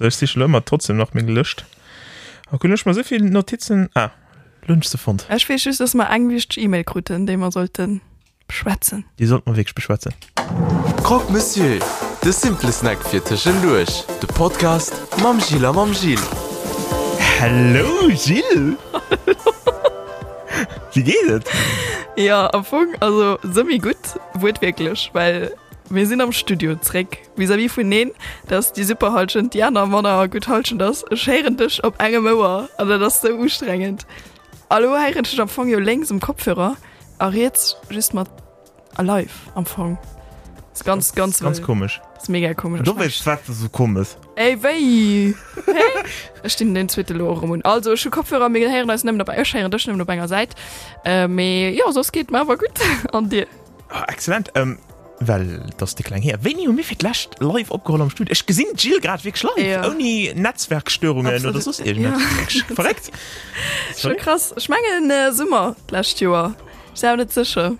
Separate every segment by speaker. Speaker 1: richtig schlimmer trotzdem noch mir gelöscht gelöscht mal so viele Notizen ah, lünste fand
Speaker 2: Ich weiß, nicht, dass man eigentlich E-Mail kruten, indem man sollten schwätzen.
Speaker 1: die sollten man wirklich beschwätzen
Speaker 3: Croque Monsieur, de simple Snack fir Tischschenduch. De Podcast Mam Gil am Mam Gil.
Speaker 1: Hallo Gilles wie geht
Speaker 2: Ja, am Funk, also, semi gut, wird wirklich, weil wir sind am Studio, Zreck. Vis-à-vis von denen, dass die Superholschen, die anderen Männer gut holschen das, scheren dich auf enge Mauer. Also, das ist so anstrengend. Hallo, heiren dich am Funk ja längs im Kopfhörer, aber jetzt ist mal alive am Funk. Ist ganz, ganz,
Speaker 1: ganz
Speaker 2: wild.
Speaker 1: komisch
Speaker 2: Ist mega komisch.
Speaker 1: du willst was so komisch
Speaker 2: Ey, wei! Hey? Stimmt, den zweiten Lohr rum. Und Also, schon Kopfhörer, mega Herren, das nimmt dabei, ich höre das nimmt dabei, seid. Ähm, ja, so es geht mir aber gut. Und dir?
Speaker 1: oh, excellent ähm, weil das die klein her wenn ihr mich vielleicht live abgeholt am Studio ich gesehen Jill gerade wirklich live
Speaker 2: Ja.
Speaker 1: ja. ohne Netzwerkstörungen Absolut. oder
Speaker 2: Absolut.
Speaker 1: so irgendwas ja. verreckt
Speaker 2: Schon krass. Ich meine, in der Sommer, last year. Ich bin auch nicht sicher.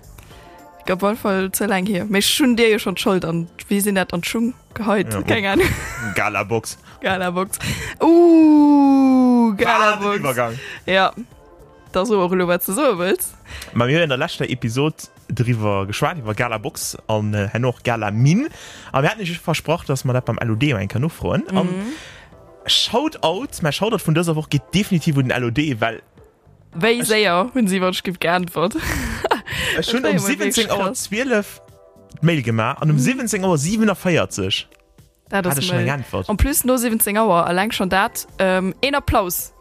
Speaker 2: Ich glaube, wohl voll zu lang hier. Mir ist schon dir ja schon schuld. Und wir sind das dann schon geheult.
Speaker 1: Ja,
Speaker 2: Ja, Keine Ahnung.
Speaker 1: Galabox
Speaker 2: Galabox.
Speaker 1: Ah,
Speaker 2: Uh,
Speaker 1: den
Speaker 2: Galabox.
Speaker 1: Übergang
Speaker 2: ja. Das ist aber auch, was du so willst.
Speaker 1: Ma mir in der letzter Episode drüber geschwar über Galabox an äh, noch Galamin aber wir hatten nicht versprochen dass man da beim LOD ein Kanu freuen mhm. schaut out man schaut von dieser Woche geht definitiv um den LOD weil
Speaker 2: Weil sehr, wenn sie was gibt, geantwortet.
Speaker 1: äh, schon
Speaker 2: war
Speaker 1: um
Speaker 2: ja wirklich
Speaker 1: 17 Uhr
Speaker 2: krass. Mhm.
Speaker 1: 12 Mail gemacht und um 17 Uhr 7 feiert sich
Speaker 2: Da, das
Speaker 1: Hatte Ah, schon
Speaker 2: mal-
Speaker 1: eine Antwort.
Speaker 2: Und plus nur 17 Uhr, allein schon dat. Ähm, ein Applaus.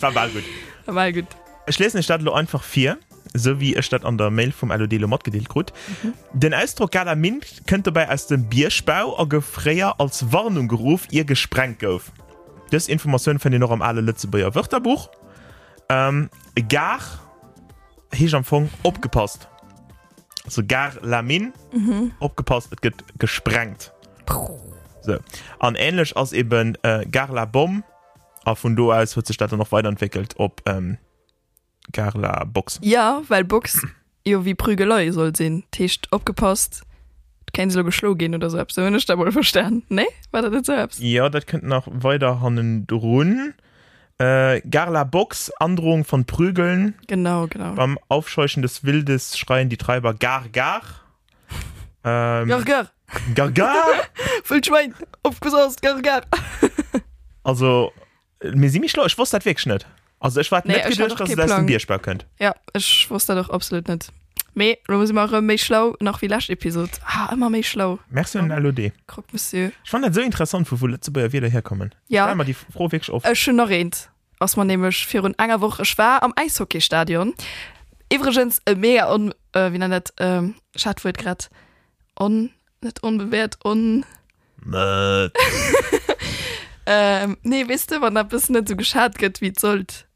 Speaker 1: war mal gut
Speaker 2: Mal gut.
Speaker 1: Schlesien Stadt lo einfach vier so wie es statt an der Mail vom Alodelo Mod gedeelt gut mhm. den Ausdruck Galamin könnte bei aus dem Bierspau a gefréer als Warnung geruf ihr gesprengt gouf das Information von den noch am alle Lützebauer Wörterbuch ähm, gar hi am Fong opgepasst so gar Lamin mhm. opgepasst et get gesprengt so an ähnlich als eben äh, Garla Bomb von do aus wird sich Stadt noch weiterentwickelt ob ähm, Carla Box
Speaker 2: Ja, weil Box, jo, wie Prügelei soll sehen. Tisch abgepasst. Kein Silo geschlagen gehen oder so. So, wenn ich da wohl verstanden. Ne? War das nicht so? Hab's?
Speaker 1: ja das könnten noch weiter hannen drohen äh, Garla Box Androhung von Prügeln
Speaker 2: Genau, genau.
Speaker 1: beim Aufscheuchen des Wildes schreien die Treiber gar gar ähm,
Speaker 2: Gar, gar.
Speaker 1: gar gar
Speaker 2: Voll Schwein. Aufgesaust. Gar, gar.
Speaker 1: also äh, mir sie mich schlau ich wusste das wirklich nicht also ich war
Speaker 2: Nee,
Speaker 1: nee, nicht
Speaker 2: ich hatte
Speaker 1: gedacht,
Speaker 2: auch
Speaker 1: dass
Speaker 2: keinen
Speaker 1: ihr das ein
Speaker 2: Plan.
Speaker 1: Bier sparen könnt
Speaker 2: Ja, ich wusste doch absolut nicht. Me, da muss ich mal mehr schlau, noch wie last Episode. Ah, immer mehr schlau.
Speaker 1: merkst du den LOD
Speaker 2: Guck, Monsieur.
Speaker 1: ich fand das so interessant wo letzte Woche wieder herkommen
Speaker 2: Ja.
Speaker 1: mal die froh wirklich auf
Speaker 2: äh, schon erwähnt was man nämlich für und einer Woche schwer am Eishockeystadion übrigens äh, mega un äh, wie nennt ähm, Schadwort grad un nicht unbewährt un
Speaker 1: Nö.
Speaker 2: ähm, nee wisst ihr wann da bis nicht so geschad geht wie sollt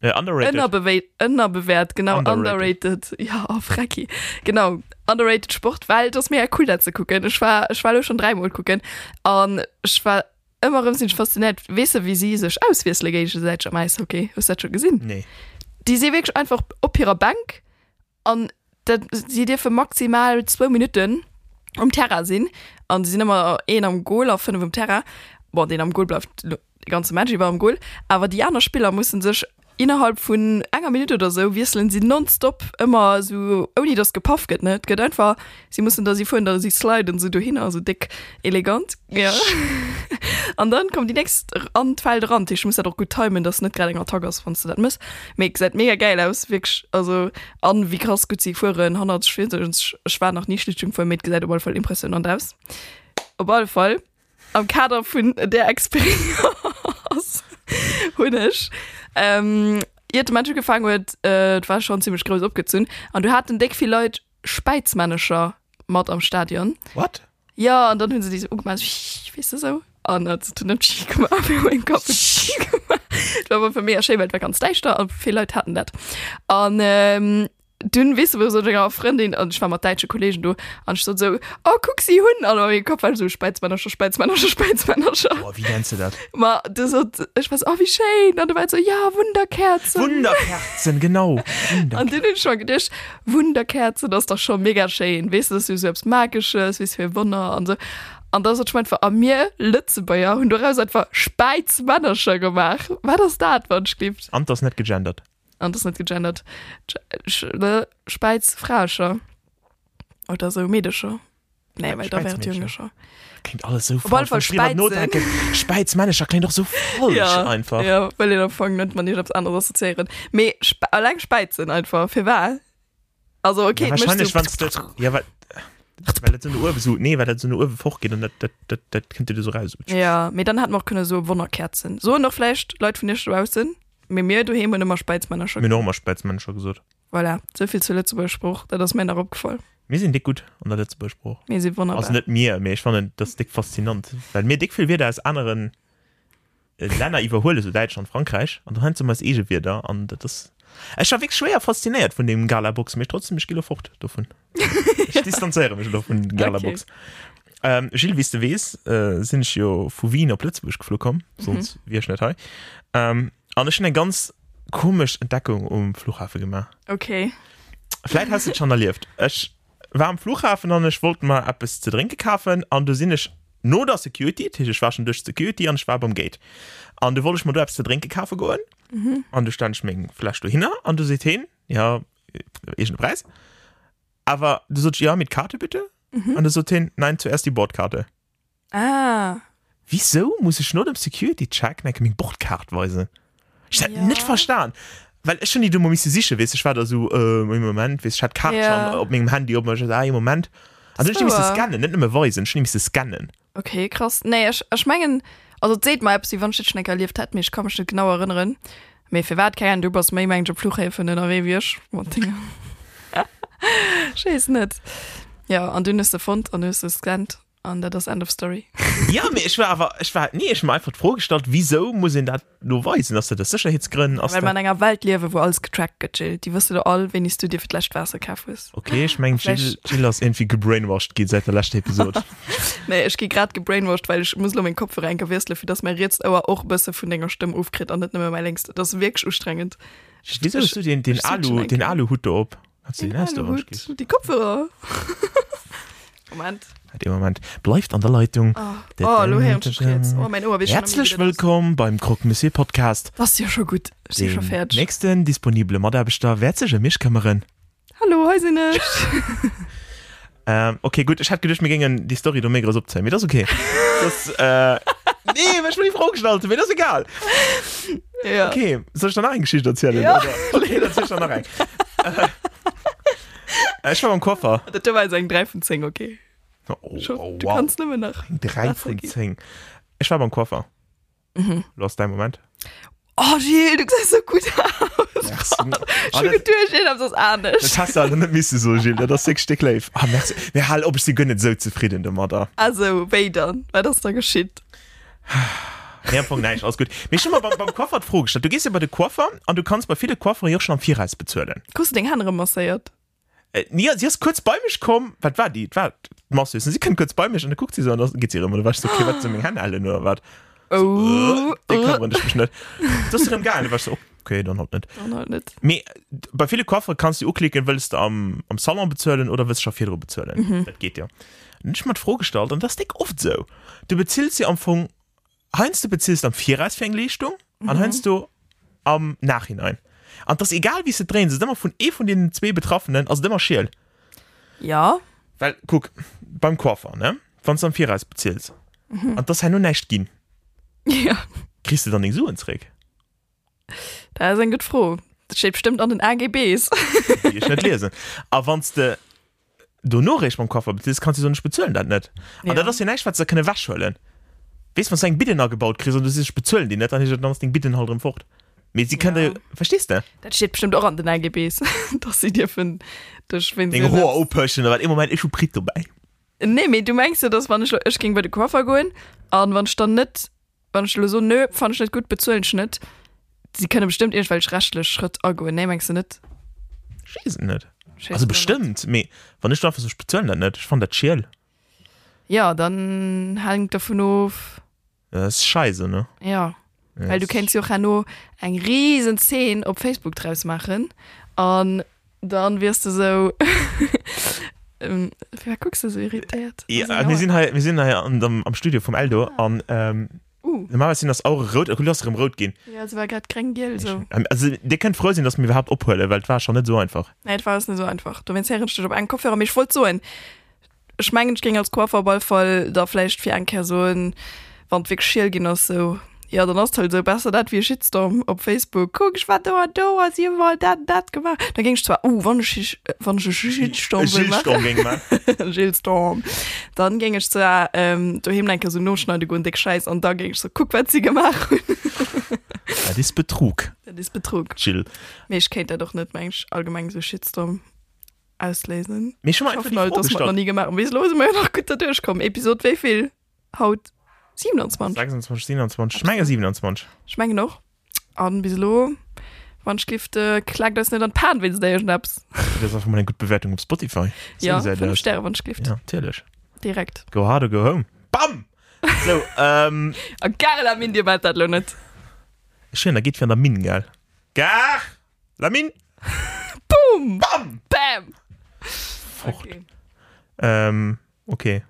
Speaker 1: Äh, underrated
Speaker 2: unterbewährt genau
Speaker 1: Underrated.
Speaker 2: underrated, underrated. ja oh, Fracki genau underrated Sport weil das mir ja cool dazu gucken ich war ich war schon dreimal gucken und ich war immer im sind fasziniert wisse wie sie sich auswieslige seit am Eishockey hast du das schon gesehen
Speaker 1: nee
Speaker 2: die sie wirklich einfach op ihrer Bank an sie dir für maximal zwei Minuten um Terra sind und sie sind immer ein am Goal auf fünf um Terra boah, den am Goal bleibt lo- die ganze Mensch über am Goal aber die anderen Spieler mussten sich innerhalb von einer Minute oder so wirseln sie nonstop immer so ohne das gepafft geht nicht geht einfach sie mussten da sie vorhin da sie sliden so hin also dick elegant ja Und dann kommt die nächste Anfall dran. Ich muss ja doch gut timen, dass es nicht gerade ein Tag ist, wenn du das musst. Mir sieht mega geil aus, wirklich. Also, an wie krass gut sie fuhren, 140 und ich- ich war noch nie schlicht voll mit, gesagt, obwohl voll impressionant aus. Auf jeden Fall, am Kader von der Experience, hunisch, ähm, ihr habt manche gefangen, wird, äh, das war schon ziemlich groß abgezogen. Und du hatten dick viele Leute, Speizmanager, Mord am Stadion.
Speaker 1: what
Speaker 2: Ja, und dann haben sie diese umgemacht, weißt du so? Ah, Und dann hat sie dann gemacht, für meinen Kopf gemacht. Ich glaube, für mich war es schön, weil wir ganz leicht da und viele Leute hatten das. Und ähm, dünn wis wo so denger Freundin an schwammer deitsche Kollegen du an so so oh guck sie hun an ihr Kopf also Speizmannerscher Speizmannerscher Speizmannerscher
Speaker 1: Boah, wie nennst du das?
Speaker 2: Ma das hat, ich weiß auch wie schön und du weißt so ja Wunderkerzen
Speaker 1: Wunderkerzen, genau. Wunder.
Speaker 2: Und den ist schon gedacht, Wunderkerze, das ist doch schon mega schön. Weißt du, dass du selbst magisches, wie viel Wunder und so. Und das hat schon einfach an mir Lützebäuer und daraus einfach Speizmannerscher gemacht. War das da, was es gibt?
Speaker 1: Und das nicht gegendert.
Speaker 2: Und das ist nicht gegendert. Sch- sch- ne? Speizfrauscher. Oder so medischer. Nee,
Speaker 1: Ja,
Speaker 2: weil da wäre es
Speaker 1: Speizmädchen.
Speaker 2: jüngischer.
Speaker 1: Klingt alles so
Speaker 2: Obwohl
Speaker 1: falsch. Wenn ich drüber
Speaker 2: voll Speiz
Speaker 1: nachdenke, Speiz, Manager, klingt doch so falsch
Speaker 2: ja,
Speaker 1: einfach.
Speaker 2: Ja, weil ihr davon nennt man nicht aufs andere assoziieren. Me, spe allein Speizen einfach, für wahr. Also, okay,
Speaker 1: ja,
Speaker 2: möchtest
Speaker 1: wahrscheinlich,
Speaker 2: du-
Speaker 1: wenn das... Ja, weil... Weil das so eine Uhr besucht. Nee, weil das so eine Uhr hochgeht und das, das, das, das könnt ihr so raus.
Speaker 2: Ja, mir dann hat man auch keine so Wunderkerzen. So noch vielleicht Leute von dir draußen. Mit mir, du heben immer Speizmänner
Speaker 1: Mir
Speaker 2: schon.
Speaker 1: nochmal Speiz, Manager gesagt.
Speaker 2: Voilà, so viel zu letzter Spruch, da das Männer abgefallen.
Speaker 1: Wir sind dick gut unter letzter Bespruch.
Speaker 2: Mir sind wunderbar.
Speaker 1: Also nicht mir, mir ich fand das dick faszinierend. Weil mir dick viel wieder als anderen äh, Länder überholen, so Deutschland, Frankreich. Und dann haben sie mal das Ege wieder. Und das. Ich war wirklich schwer fasziniert von dem Galabox. Mich trotzdem, ich gehe fort davon. Ich distanziere mich doch von Galabox. Okay. Ähm, Gilles, wie du weißt, äh, sind ich ja von Wien auf Lützburg geflogen, sonst mhm. wäre ich nicht hei. Ähm, und ich habe eine ganz komische Entdeckung um Flughafen gemacht.
Speaker 2: Okay.
Speaker 1: Vielleicht hast du es schon erlebt. Ich war am Flughafen und ich wollte mal etwas zu trinken kaufen und du sind ich nur der Security, Tisch, ich war schon durch Security und ich war beim Gate. Und du wolltest mal da etwas zu trinken kaufen gehen und du standst mit dem Flasch hin und du siehst hin, ja, ist ein Preis. Aber du sagst, ja, mit Karte bitte. Und du sagst hin, nein, zuerst die Bordkarte.
Speaker 2: Ah,
Speaker 1: Wieso muss ich nur dem Security-Check nach meiner Bordkarte weisen? Ich hab
Speaker 2: Ja.
Speaker 1: ja. nicht verstanden. Weil ich schon die dumme Misse sicher weiß. Ich war da so, äh, im Moment, weiß, ich hatte Karte
Speaker 2: Ja.
Speaker 1: ja. schon auf meinem Handy, ob man schon sagt, ah, im Moment. Also ich
Speaker 2: ist
Speaker 1: muss
Speaker 2: aber-
Speaker 1: scannen, nicht mehr weisen, ich muss scannen.
Speaker 2: okay, krass. Nee, ich, ich meine, also seht mal, ob sie wann schon erlebt hat, mich kann mich nicht genau erinnern. Mir für was kann du bist mir manche Flughäfen in der Revisch. Scheiß nicht. Ja, und du hast es gefunden und du hast es gescannt. Und das ist End of Story.
Speaker 1: Ja, mir, ich war aber, ich war, nee, ich hab mir einfach vorgestellt, wieso muss ich das nur weisen, dass du das Sicherheitsgründen aus
Speaker 2: Weil man
Speaker 1: der...
Speaker 2: in einer Welt lebt, wo alles getrackt wird, Jill. Die wissen doch all, wenn du dir vielleicht Wasser kaufst.
Speaker 1: Okay, ich meine, Jill,
Speaker 2: Vielleicht-
Speaker 1: Jill ist irgendwie gebrainwashed geht seit der letzten Episode.
Speaker 2: Nee, ich gehe gerade gebrainwashed, weil ich muss nur meinen Kopf reingewisseln, für das mein Rätsel aber auch besser von deiner Stimme aufkriegt und nicht mehr mein längst. Das ist wirklich anstrengend.
Speaker 1: Wieso hast du den, den
Speaker 2: ich seh schon
Speaker 1: Alu,
Speaker 2: ein-
Speaker 1: den Aluhut da ab? Hast du den
Speaker 2: Ja,
Speaker 1: erst da
Speaker 2: gut,
Speaker 1: abgegeben?
Speaker 2: die Kopfhörer. Moment.
Speaker 1: Hat im Moment bleibt an der Leitung.
Speaker 2: Oh, hallo, Herr Schritz. Oh, mein Ohr, wir
Speaker 1: Herzlich willkommen beim Croque Monsieur Podcast.
Speaker 2: Das ist ja schon gut. Ich bin schon
Speaker 1: Dem
Speaker 2: fertig.
Speaker 1: nächsten disponible Modderbestand, wertige Mischkammerin.
Speaker 2: Hallo, hi, Sinne.
Speaker 1: Ähm, okay, gut, ich hatte gedacht, wir gingen die Story um mega subzeilen. Mir das okay. Das, äh, nee, wenn ich mir die Frage gestellt habe, mir das egal.
Speaker 2: Ja.
Speaker 1: Okay, soll ich danach eine Geschichte erzählen?
Speaker 2: Ja.
Speaker 1: Oder? Okay, dann erzähl ich danach ein. Äh, ich war im Koffer.
Speaker 2: Das war jetzt ein 3 von 10, okay.
Speaker 1: Oh, oh,
Speaker 2: Schon,
Speaker 1: wow.
Speaker 2: Du kannst nicht mehr nach.
Speaker 1: Drei
Speaker 2: Wasser
Speaker 1: von
Speaker 2: geben.
Speaker 1: zehn. Ich war beim Koffer. Mhm. Lost deinen Moment.
Speaker 2: Oh, Jill, du siehst so gut aus.
Speaker 1: Ach so. Ah,
Speaker 2: Schon
Speaker 1: das-
Speaker 2: getötet, ich hab das auch nicht.
Speaker 1: Das hast du alle nicht müssen, so, Gilles. Das ist sechs Stück live. Ah, merci. Wir halt, ob ich sie gönnen, so zufrieden, der Mutter.
Speaker 2: Also, weiter, weil das da geschieht.
Speaker 1: Nee, am Anfang, nein, ist alles gut. Mir ist schon mal beim, beim Koffer die Frage gestellt. Du gehst über den Koffer und du kannst bei vielen Koffer ja auch schon am Vierreis bezahlen.
Speaker 2: Guckst du den anderen massiert?
Speaker 1: Äh, Nia, sie ist kurz bei mich gekommen. Was war die? Was machst du jetzt? Und Sie kann kurz bei mich und dann guckt sie so und dann geht sie rum. Und du weißt so, okay, was sind meine Hände alle nur? Was?
Speaker 2: Oh,
Speaker 1: Uh, den
Speaker 2: oh.
Speaker 1: kann man nicht. Das ist dann geil. Und Du weißt so, okay, dann halt nicht.
Speaker 2: Oh, noch nicht.
Speaker 1: Me, bei vielen Koffer kannst du auch klicken, willst du am, am Salon bezahlen oder willst du auf Hedro bezahlen. Mhm. Das geht ja. Nicht mal vorgestellt, und das ist oft so. Du bezahlst sie am Anfang, heinz du bezahlst am Vierreis für eine Leistung, mhm. und heinz du am Nachhinein. Und das ist egal, wie sie drehen, sie sind immer von eh von den zwei Betroffenen, also immer schön.
Speaker 2: Ja,
Speaker 1: Weil, guck, beim Koffer, ne? Wenn du am Vierreis bezahlst, mhm. und das hat nur nicht gehen,
Speaker 2: ja,
Speaker 1: kriegst du dann den Suchen zurück.
Speaker 2: da ist ein gut froh. Das steht bestimmt an den AGBs.
Speaker 1: die ich nicht lesen. Aber wenn du du nur recht beim Koffer beziehst, kannst du so einen speziellen dann nicht.
Speaker 2: Ja.
Speaker 1: Und dann hast du ja nicht, weil du keine Waschhöllen. Weißt du, wenn du einen Bitten gebaut kriegst und du siehst speziellen, die nicht, dann ist das Ding Bitten halt drin fort. Aber sie können, ja. verstehst du?
Speaker 2: Das steht bestimmt auch an den AGBs, dass sie dir für das
Speaker 1: Den
Speaker 2: Schwindel.
Speaker 1: Rohr aufpöschen, aber im Moment ist schon Brit dabei.
Speaker 2: Nee, mir, du meinst ja, dass wenn ich, ich ging bei den Koffer gehen und wenn ich dann nicht, wenn ich so, nö, fand ich nicht gut bezahlen, ich nicht. Sie können bestimmt irgendwelche rechtlichen Schritte angehen. Nee, meinst du nicht?
Speaker 1: schießen nicht
Speaker 2: Schießen
Speaker 1: also
Speaker 2: wir
Speaker 1: bestimmt me wann ich dafür so speziell dann nicht ich fand der chill
Speaker 2: ja dann hängt davon auf
Speaker 1: das ist scheiße ne
Speaker 2: ja
Speaker 1: ja,
Speaker 2: weil du
Speaker 1: das-
Speaker 2: kennst ja auch nur ein riesen 10 auf Facebook draus machen und dann wirst du so ähm, wer guckst du so irritiert
Speaker 1: ja,
Speaker 2: Also,
Speaker 1: wir sind halt, wir sind halt am, am, am Studio vom Eldo an ähm,
Speaker 2: uh,
Speaker 1: normal sind das auch rot lass im rot gehen
Speaker 2: ja es war gerade kränkel so
Speaker 1: Ähm, also der kann froh sein dass mir überhaupt abhole weil es war schon nicht so einfach
Speaker 2: Nein, das war es nicht so einfach. Du meinst, Herren steht auf einen Kopfhörer, mich voll so ein. Ich meine, ich ging als Kofferball voll, da vielleicht für eine Person, wenn es wirklich schiel ging, so. Ja, dann hast du halt so besser das wie Shitstorm auf Facebook. Guck, ich war da, da, was ihr wollt, das, das gemacht. Da ging ich zwar, uh, wann ich, äh, wann ich einen Shitstorm will machen.
Speaker 1: Schildsturm ging mal.
Speaker 2: Shitstorm. Dann ging ich zwar, ähm, du himmeln so Notschneide und dick Scheiß und da ging ich so, guck, was sie gemacht haben.
Speaker 1: Ja, das ist Betrug
Speaker 2: Das ist Betrug.
Speaker 1: chill
Speaker 2: Mir, ich kennt da doch nicht, Mensch, allgemein so Shitstorm auslesen.
Speaker 1: mich schon mal einfach
Speaker 2: Ich hoffe
Speaker 1: die
Speaker 2: mal,
Speaker 1: Frage
Speaker 2: das hat noch
Speaker 1: gestellt.
Speaker 2: nie gemacht. Wie los wir noch gut da durchkommen? Episode wie viel? Haut 27.
Speaker 1: 26 27 ich meine 27
Speaker 2: Ich meine noch. Und bis lo. Wann Schlifte klagt das nicht an Pan, wenn es da schnappst.
Speaker 1: das ist einfach mal eine gute Bewertung auf Spotify So
Speaker 2: Ja,
Speaker 1: sehr
Speaker 2: fünf
Speaker 1: das.
Speaker 2: Sterne wann Schlift.
Speaker 1: ja natürlich
Speaker 2: Direkt.
Speaker 1: go hard or go home bam so ähm
Speaker 2: Und Oh, geil, am Ende war das noch nicht.
Speaker 1: schön da geht für der Min geil gar Lamin
Speaker 2: Boom!
Speaker 1: bam
Speaker 2: Bam!
Speaker 1: Fort.
Speaker 2: Okay.
Speaker 1: Ähm, okay.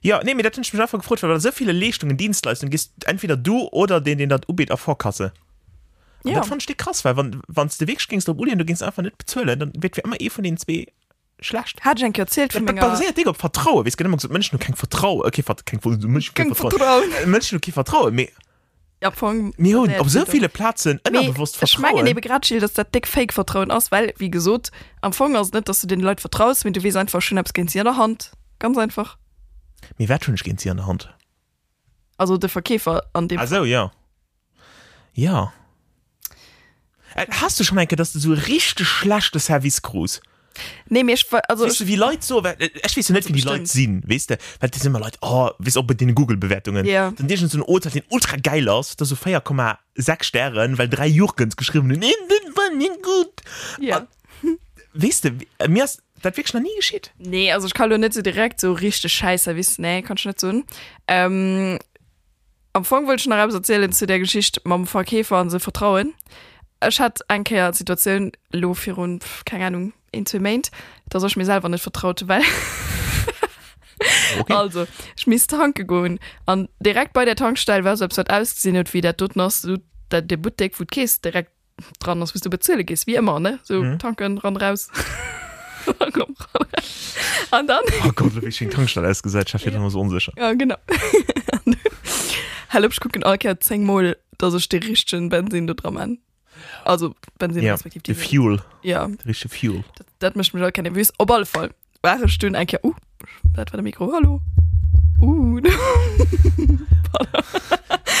Speaker 1: Ja, nee, mir das mich einfach gefreut, weil da so viele Lichtungen, Dienstleistungen gehst entweder du oder den, den das U-Beat auf Vorkasse. Und
Speaker 2: Ja.
Speaker 1: Das fand ich die krass, weil wenn es den Weg gingst, um Uli und du gingst einfach nicht bezahlen, dann wird wie immer eh von den zwei schlecht.
Speaker 2: Hat Jenke erzählt von
Speaker 1: Das
Speaker 2: mir.
Speaker 1: basiert, Digga, auf Vertrauen. Weißt du, immer gesagt, Menschen, du kein Vertrauen. Okay, Vert- kein Vertrauen. Menschen, kein
Speaker 2: Kein
Speaker 1: Vertrauen.
Speaker 2: Vertrauen.
Speaker 1: Äh, Menschen, du kein Vertrauen. Mir,
Speaker 2: Ja, von.
Speaker 1: mir haben
Speaker 2: Nee,
Speaker 1: auf so
Speaker 2: bitte.
Speaker 1: viele Plätzen unbewusst
Speaker 2: ich meine eben
Speaker 1: Vertrauen.
Speaker 2: gerade schon, dass das dick fake Vertrauen aus, weil, wie gesagt, am Anfang ist nicht, dass du den Leuten vertraust, wenn du weißt einfach schon, hab's gehen sie in der Hand. Ganz einfach.
Speaker 1: Mir wird schon nicht gehen, sie an der Hand.
Speaker 2: Also der Verkäfer an dem
Speaker 1: Also, ja. Ja. Äh, Hast du schon einmal, dass du so richtig schlechte Service-Crews
Speaker 2: Nee, mir ist, ver- also
Speaker 1: weißt du, wie Leute so weil, äh, ich weiß ja nicht wie die
Speaker 2: Bestimmt.
Speaker 1: Leute sind weißt du weil das sind immer Leute oh weißt du auch bei den Google Bewertungen
Speaker 2: Ja.
Speaker 1: dann die schon so ein Urteil den ultra geil aus dass so 4,6 Sternen weil drei Jurgens geschrieben haben, nee das war nicht gut
Speaker 2: ja.
Speaker 1: weißt du wie- äh, mir ist das wirklich noch nie geschieht
Speaker 2: nee also ich kann doch nicht so direkt so richtig scheiße wissen nee kann ich nicht so hin. ähm, am Anfang wollte ich noch etwas erzählen zu der Geschichte mit dem Verkäfer und so Vertrauen ich hatte ein Kerl Situation lo für und keine Ahnung intimate dass ich mir selber nicht vertraute weil
Speaker 1: okay.
Speaker 2: Also, ich bin Tank gegangen. Und direkt bei der Tankstelle war so, es hat ausgesehen, hat, wie der dort noch so, der, der Buttek, wo du gehst, direkt dran, als du bezahlen gehst, wie immer, ne? So, mhm. tanken, ran, raus. ran, ran, raus. Und dann,
Speaker 1: oh Gott wie ich den Tankstall alles gesagt ich bin immer so unsicher
Speaker 2: ja, genau. Und- Hallo, ich gucke in Alka zehnmal, dass ich die richtigen Benzin da dran an. Also, Benzin,
Speaker 1: ja
Speaker 2: respektive
Speaker 1: die
Speaker 2: Diesel.
Speaker 1: Fuel
Speaker 2: Ja,
Speaker 1: die richtige Fuel
Speaker 2: das, das möchte mich auch keine nervös. Auf alle Fall. Wahre Stunde, eigentlich, uh, das war der Mikro, hallo. Uh,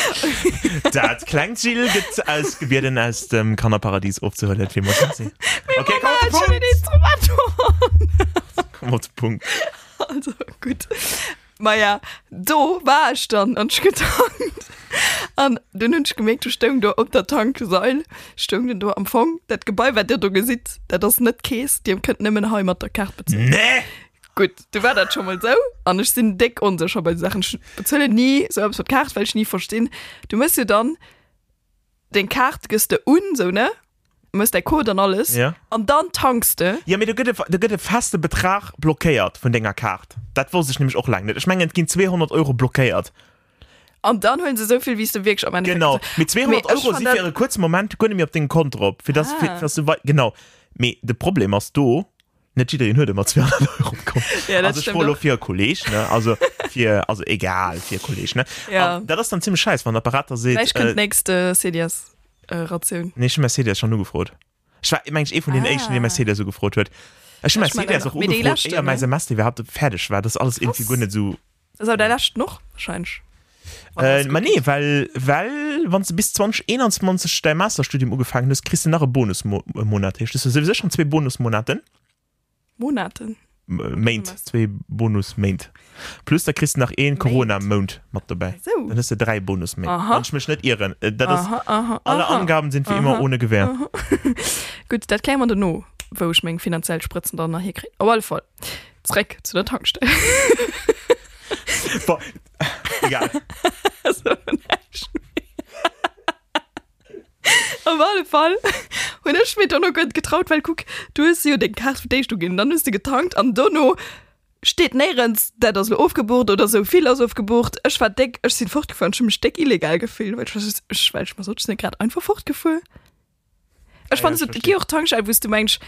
Speaker 1: das klingt Jill gibt als Gebirden aus dem Kannerparadies aufzuhören okay komm
Speaker 2: Schon
Speaker 1: Punkt.
Speaker 2: ein Instrument.
Speaker 1: Komm auf den Punkt
Speaker 2: Also gut. Maja, do war ich dann und ich getankt. Und dann hab ich gemerkt, du stehst da auf der Tanksäule, stehst da am Fang, das Gebäude, was dir da gesieht, das ist nicht Käse, die könnten nicht mehr heim mit der Karte bezahlen.
Speaker 1: nee
Speaker 2: Gut, du war das schon mal so. Und ich bin dick unsicher bei Sachen. Ich bezahle nie so etwas mit Karte, weil ich nie verstehe. Du musst dir dann den Karte gibst du un, so, ne? Du musst der Code und alles.
Speaker 1: Ja.
Speaker 2: Und dann tankst du.
Speaker 1: Ja, mir gëtt faste Betrag blockéiert vun denger Kart. Dat wo sech nämlich auch lang net. Ich mengen gin 200 Euro blockéiert.
Speaker 2: Und dann holen sie so viel, wie du wirklich am Ende
Speaker 1: Genau mit 200
Speaker 2: Nee, ich
Speaker 1: Euro
Speaker 2: fand
Speaker 1: si
Speaker 2: dat-
Speaker 1: ihre kurzen Moment kunnne mir op den Konto op. Für das, ah. für, für das, genau Me, de Problem hast du net hue immer 200 Euro bekommen.
Speaker 2: Ja, das
Speaker 1: also, ich
Speaker 2: stimmt
Speaker 1: hol
Speaker 2: doch.
Speaker 1: auch vier Kolleg ne also vier, also egal vier Kolleg ne
Speaker 2: Ja.
Speaker 1: da das ist dann ziemlich scheiß wann der Berater se
Speaker 2: Vielleicht könnt äh, nächste CDS äh, Ration.
Speaker 1: nee, schon Mercedes schon nur gefrot ich war ich mein, eh von den
Speaker 2: Ah.
Speaker 1: Menschen die Mercedes so gefrot hue
Speaker 2: Ja, ich meine,
Speaker 1: Mercedes auch
Speaker 2: mit den
Speaker 1: ungefrot.
Speaker 2: Lasten,
Speaker 1: Eher
Speaker 2: ne?
Speaker 1: mein Semester wir habt fertig war das alles irgendwie gunde so
Speaker 2: Das ist aber der Last noch, wahrscheinlich.
Speaker 1: Äh, man nee, weil, weil wenn du bis 2021 dein Masterstudium angefangen hast, kriegst du noch einen Bonusmonat. Das sind sowieso schon zwei Bonusmonate.
Speaker 2: Monate.
Speaker 1: M- Maint, zwei Bonus-Maint. Plus da kriegst du noch einen Corona-Mount mit dabei.
Speaker 2: So.
Speaker 1: Dann hast du drei Bonus-Maint.
Speaker 2: Aha.
Speaker 1: Kannst mich nicht irren. Äh, Das ist,
Speaker 2: Aha, aha,
Speaker 1: alle
Speaker 2: aha.
Speaker 1: Angaben sind wie immer ohne Gewähr.
Speaker 2: Gut, das klären wir dann noch. wo ich mein finanziell Spritzen dann nachher kriege. Aber alle voll. Zurück zu der Tankstelle.
Speaker 1: Boah. Egal.
Speaker 2: Also, nicht Auf alle Fall. Und ich mir dann noch gut getraut, weil guck, du hast ja den Kart für dich du gehen, dann hast du getankt, am Donno steht nirgends, der das so aufgebucht oder so viel aus aufgebucht. Ich war dick, ich bin fortgefahren, ich bin steck illegal gefühlt, weil ich, was- ich, weil ich mir so gerade einfach fortgefahren. Ich
Speaker 1: Ah Ja,
Speaker 2: fand
Speaker 1: ich
Speaker 2: so,
Speaker 1: verstehe.
Speaker 2: geh auch Tankstelle, wo du meinst,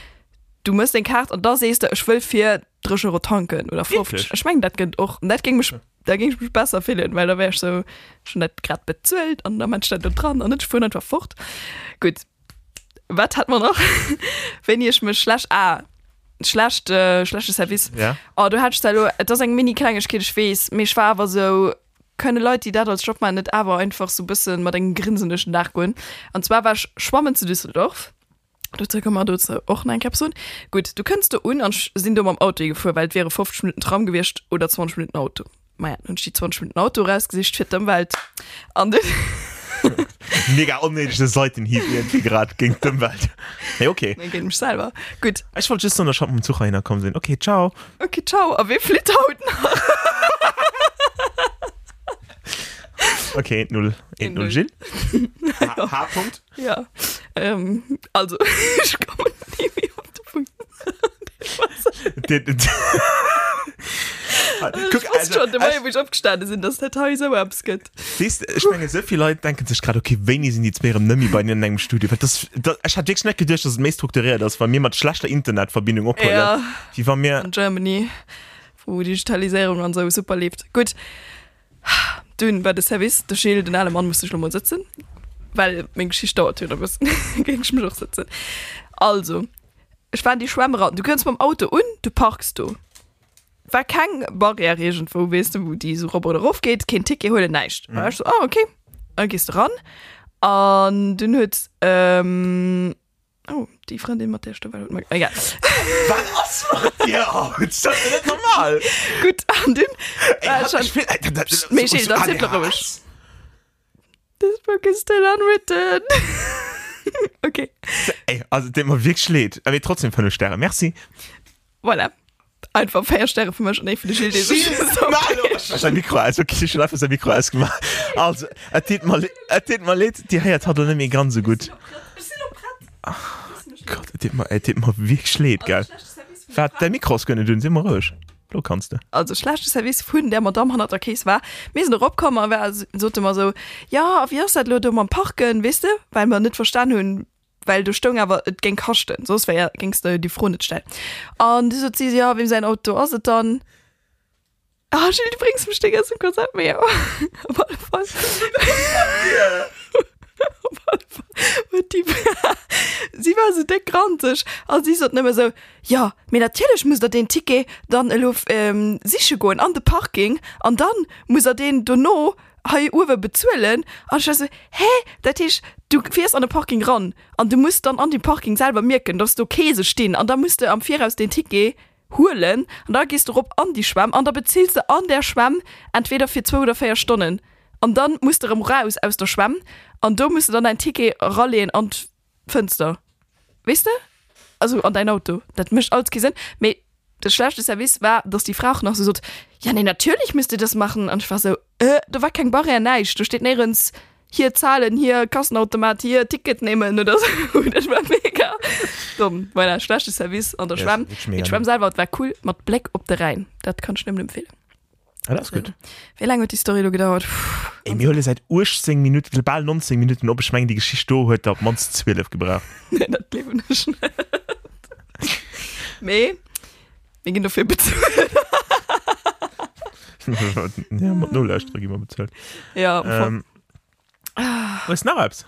Speaker 2: du musst den Kart und da siehst du, ich will für 3 Euro tanken oder 50.
Speaker 1: Wirklich?
Speaker 2: Ich meine, das geht auch. Und das ging mich, da ging ich mich besser fühlen, weil da wäre ich so schon nicht gerade bezahlt und dann stand da dran und ich fuhr einfach fort. Gut. Was hat man noch? Wenn ich mich schlecht, ah, schlecht, äh, schlechtes Service.
Speaker 1: Ja.
Speaker 2: Oh, du hattest da, lo- das ist ein Mini-Kleinigkeit, ich weiß. Mich war aber so, können Leute, die das als Job machen, nicht aber einfach so ein bisschen mit einem Grinsen durch den Dach gehen. Und zwar war ich schwammen zu Düsseldorf. Du komm mal du auch nein Kapseln. Gut, du kannst du un und sch- sind du am Auto gefahren, weil es wäre 50 Minuten Traum gewesen oder 20 Minuten Auto. Maja, und die 20 Minuten Auto rausgesicht fit im Wald. Und dann-
Speaker 1: Mega unnötige Seitenhieb irgendwie gerade gegen den Wald. Hey, okay.
Speaker 2: dann geht mich selber. Gut,
Speaker 1: Ich wollte just noch Shop im Zug reinkommen sehen. Okay, ciao.
Speaker 2: okay, ciao, aber wir flitter heute noch.
Speaker 1: Okay, 1-0. 1-0
Speaker 2: 1-0.
Speaker 1: Gilles. H- H-Punkt.
Speaker 2: Ja, ähm, also, ich komme nie mehr auf den Punkt.
Speaker 1: Den- den- Äh, Guck,
Speaker 2: Ich wusste schon, der
Speaker 1: also, äh,
Speaker 2: Mai, wo ich abgestanden sind, dass der Teil selber abgeht.
Speaker 1: siehst, du, ich meine, so viele Leute denken sich gerade, okay, wenig sind jetzt mehr im Nimi bei mir in einem Studio. Weil das, das, ich hatte wirklich nicht gedacht, dass es mehr strukturiert ist, weil mir mit schlechter Internetverbindung abholen.
Speaker 2: Ja.
Speaker 1: Die war mir,
Speaker 2: In Germany, wo die Digitalisierung und so super lebt. Gut. Dünn war der Service, der Schild und alle Mann musste schon mal sitzen. Weil meine Geschichte dauert ja noch ein bisschen. Ging ich mich auch sitzen. Also, ich fand die Schwammraten. Du kannst beim Auto und du parkst du. War kein Barriere irgendwo, weißt du, wo die so Roboter raufgeht, kein Ticket holen, nicht. Mhm. Weißt du, ah, okay. Dann gehst du ran. Und dann hört, ähm, oh, die Freundin mit der Stimme, egal.
Speaker 1: was macht ihr aus? Das ist nicht normal.
Speaker 2: Gut, an den.
Speaker 1: Ey,
Speaker 2: Äh,
Speaker 1: hab
Speaker 2: schon.
Speaker 1: ich viel- Alter, das ist-
Speaker 2: Mir steht das
Speaker 1: Ah,
Speaker 2: Hitler
Speaker 1: ja.
Speaker 2: römisch. This book is still unwritten. okay,
Speaker 1: Ey, also den man wirklich lädt. Aber trotzdem 5 Sterne. Merci.
Speaker 2: voilà. Einfach vier Sterne für mich und nicht für die Schild.
Speaker 1: Sein Mikro aus, okay, ich schlafe sein Mikro ausgemacht. Also, er tät mal, er tät mal lädt, die Heirat hat er nicht mehr ganz so gut. Gott, er tät mal, er tät mal wirklich lädt, gell. Wer hat dein Mikro ausgönnen, du, sind wir ruhig. Du kannst du.
Speaker 2: Also, schlechtes Service von der Madame hat der Käse war. Wir sind raufgekommen und wir sollten mal so, ja, auf ihr seid Leute, man parken, weißt du? Weil wir nicht verstanden haben, weil du stung, aber es ging kosten. Sonst wär- gingst du die Frau nicht stellen. Und die so, sie, so, ja, wem sein Auto ist es dann? Ah, Schild, du bringst mich den ganzen Konzert mehr. Auf alle Fall. Auf alle Fall. Und die, sie war so dick grantig. Und sie sagt immer so, ja, mir natürlich muss er den Ticket dann auf ähm, sicher gehen, an den Park gehen. Und dann muss er den Dono hei Uwe bezwillen. Und ich war so, hä, das ist, du fährst an den Parking ran. Und du musst dann an den Parking selber merken, dass du Käse stehen. Und dann musst du am Vier aus den Ticket holen und da gehst du rob an die Schwamm und da bezielst du an der Schwamm entweder für zwei oder vier Stunden und dann musst du rum raus aus der Schwamm und da musst du dann ein Ticket rollen und Fenster weißt du also an dein Auto das mischt alles gesehen Me das schlechte Service war dass die Frau noch so sagt, ja nee natürlich müsst ihr das machen und ich war so äh, da war kein Barriere neisch du steht nirgends hier zahlen hier Kassenautomat hier Ticket nehmen oder so Und das war mega dumm weil das schlechte Service an der
Speaker 1: Ja,
Speaker 2: Schwamm
Speaker 1: ist mega
Speaker 2: mit Schwamm selber das war cool mit Black ob der rein das kann ich nicht empfehlen
Speaker 1: Ah, das ist gut.
Speaker 2: wie lange hat die Story da gedauert Puh.
Speaker 1: Ey, mir holen seit ur 10 Minuten, global 19 Minuten, ob ich meine, die Geschichte da heute ab Monster 12 gebracht.
Speaker 2: Nee, das Leben ist nicht. Nee, wir gehen dafür bezahlt.
Speaker 1: ja, mit null Ausstrich immer bezahlt.
Speaker 2: Ja,
Speaker 1: Ähm, was ist noch was?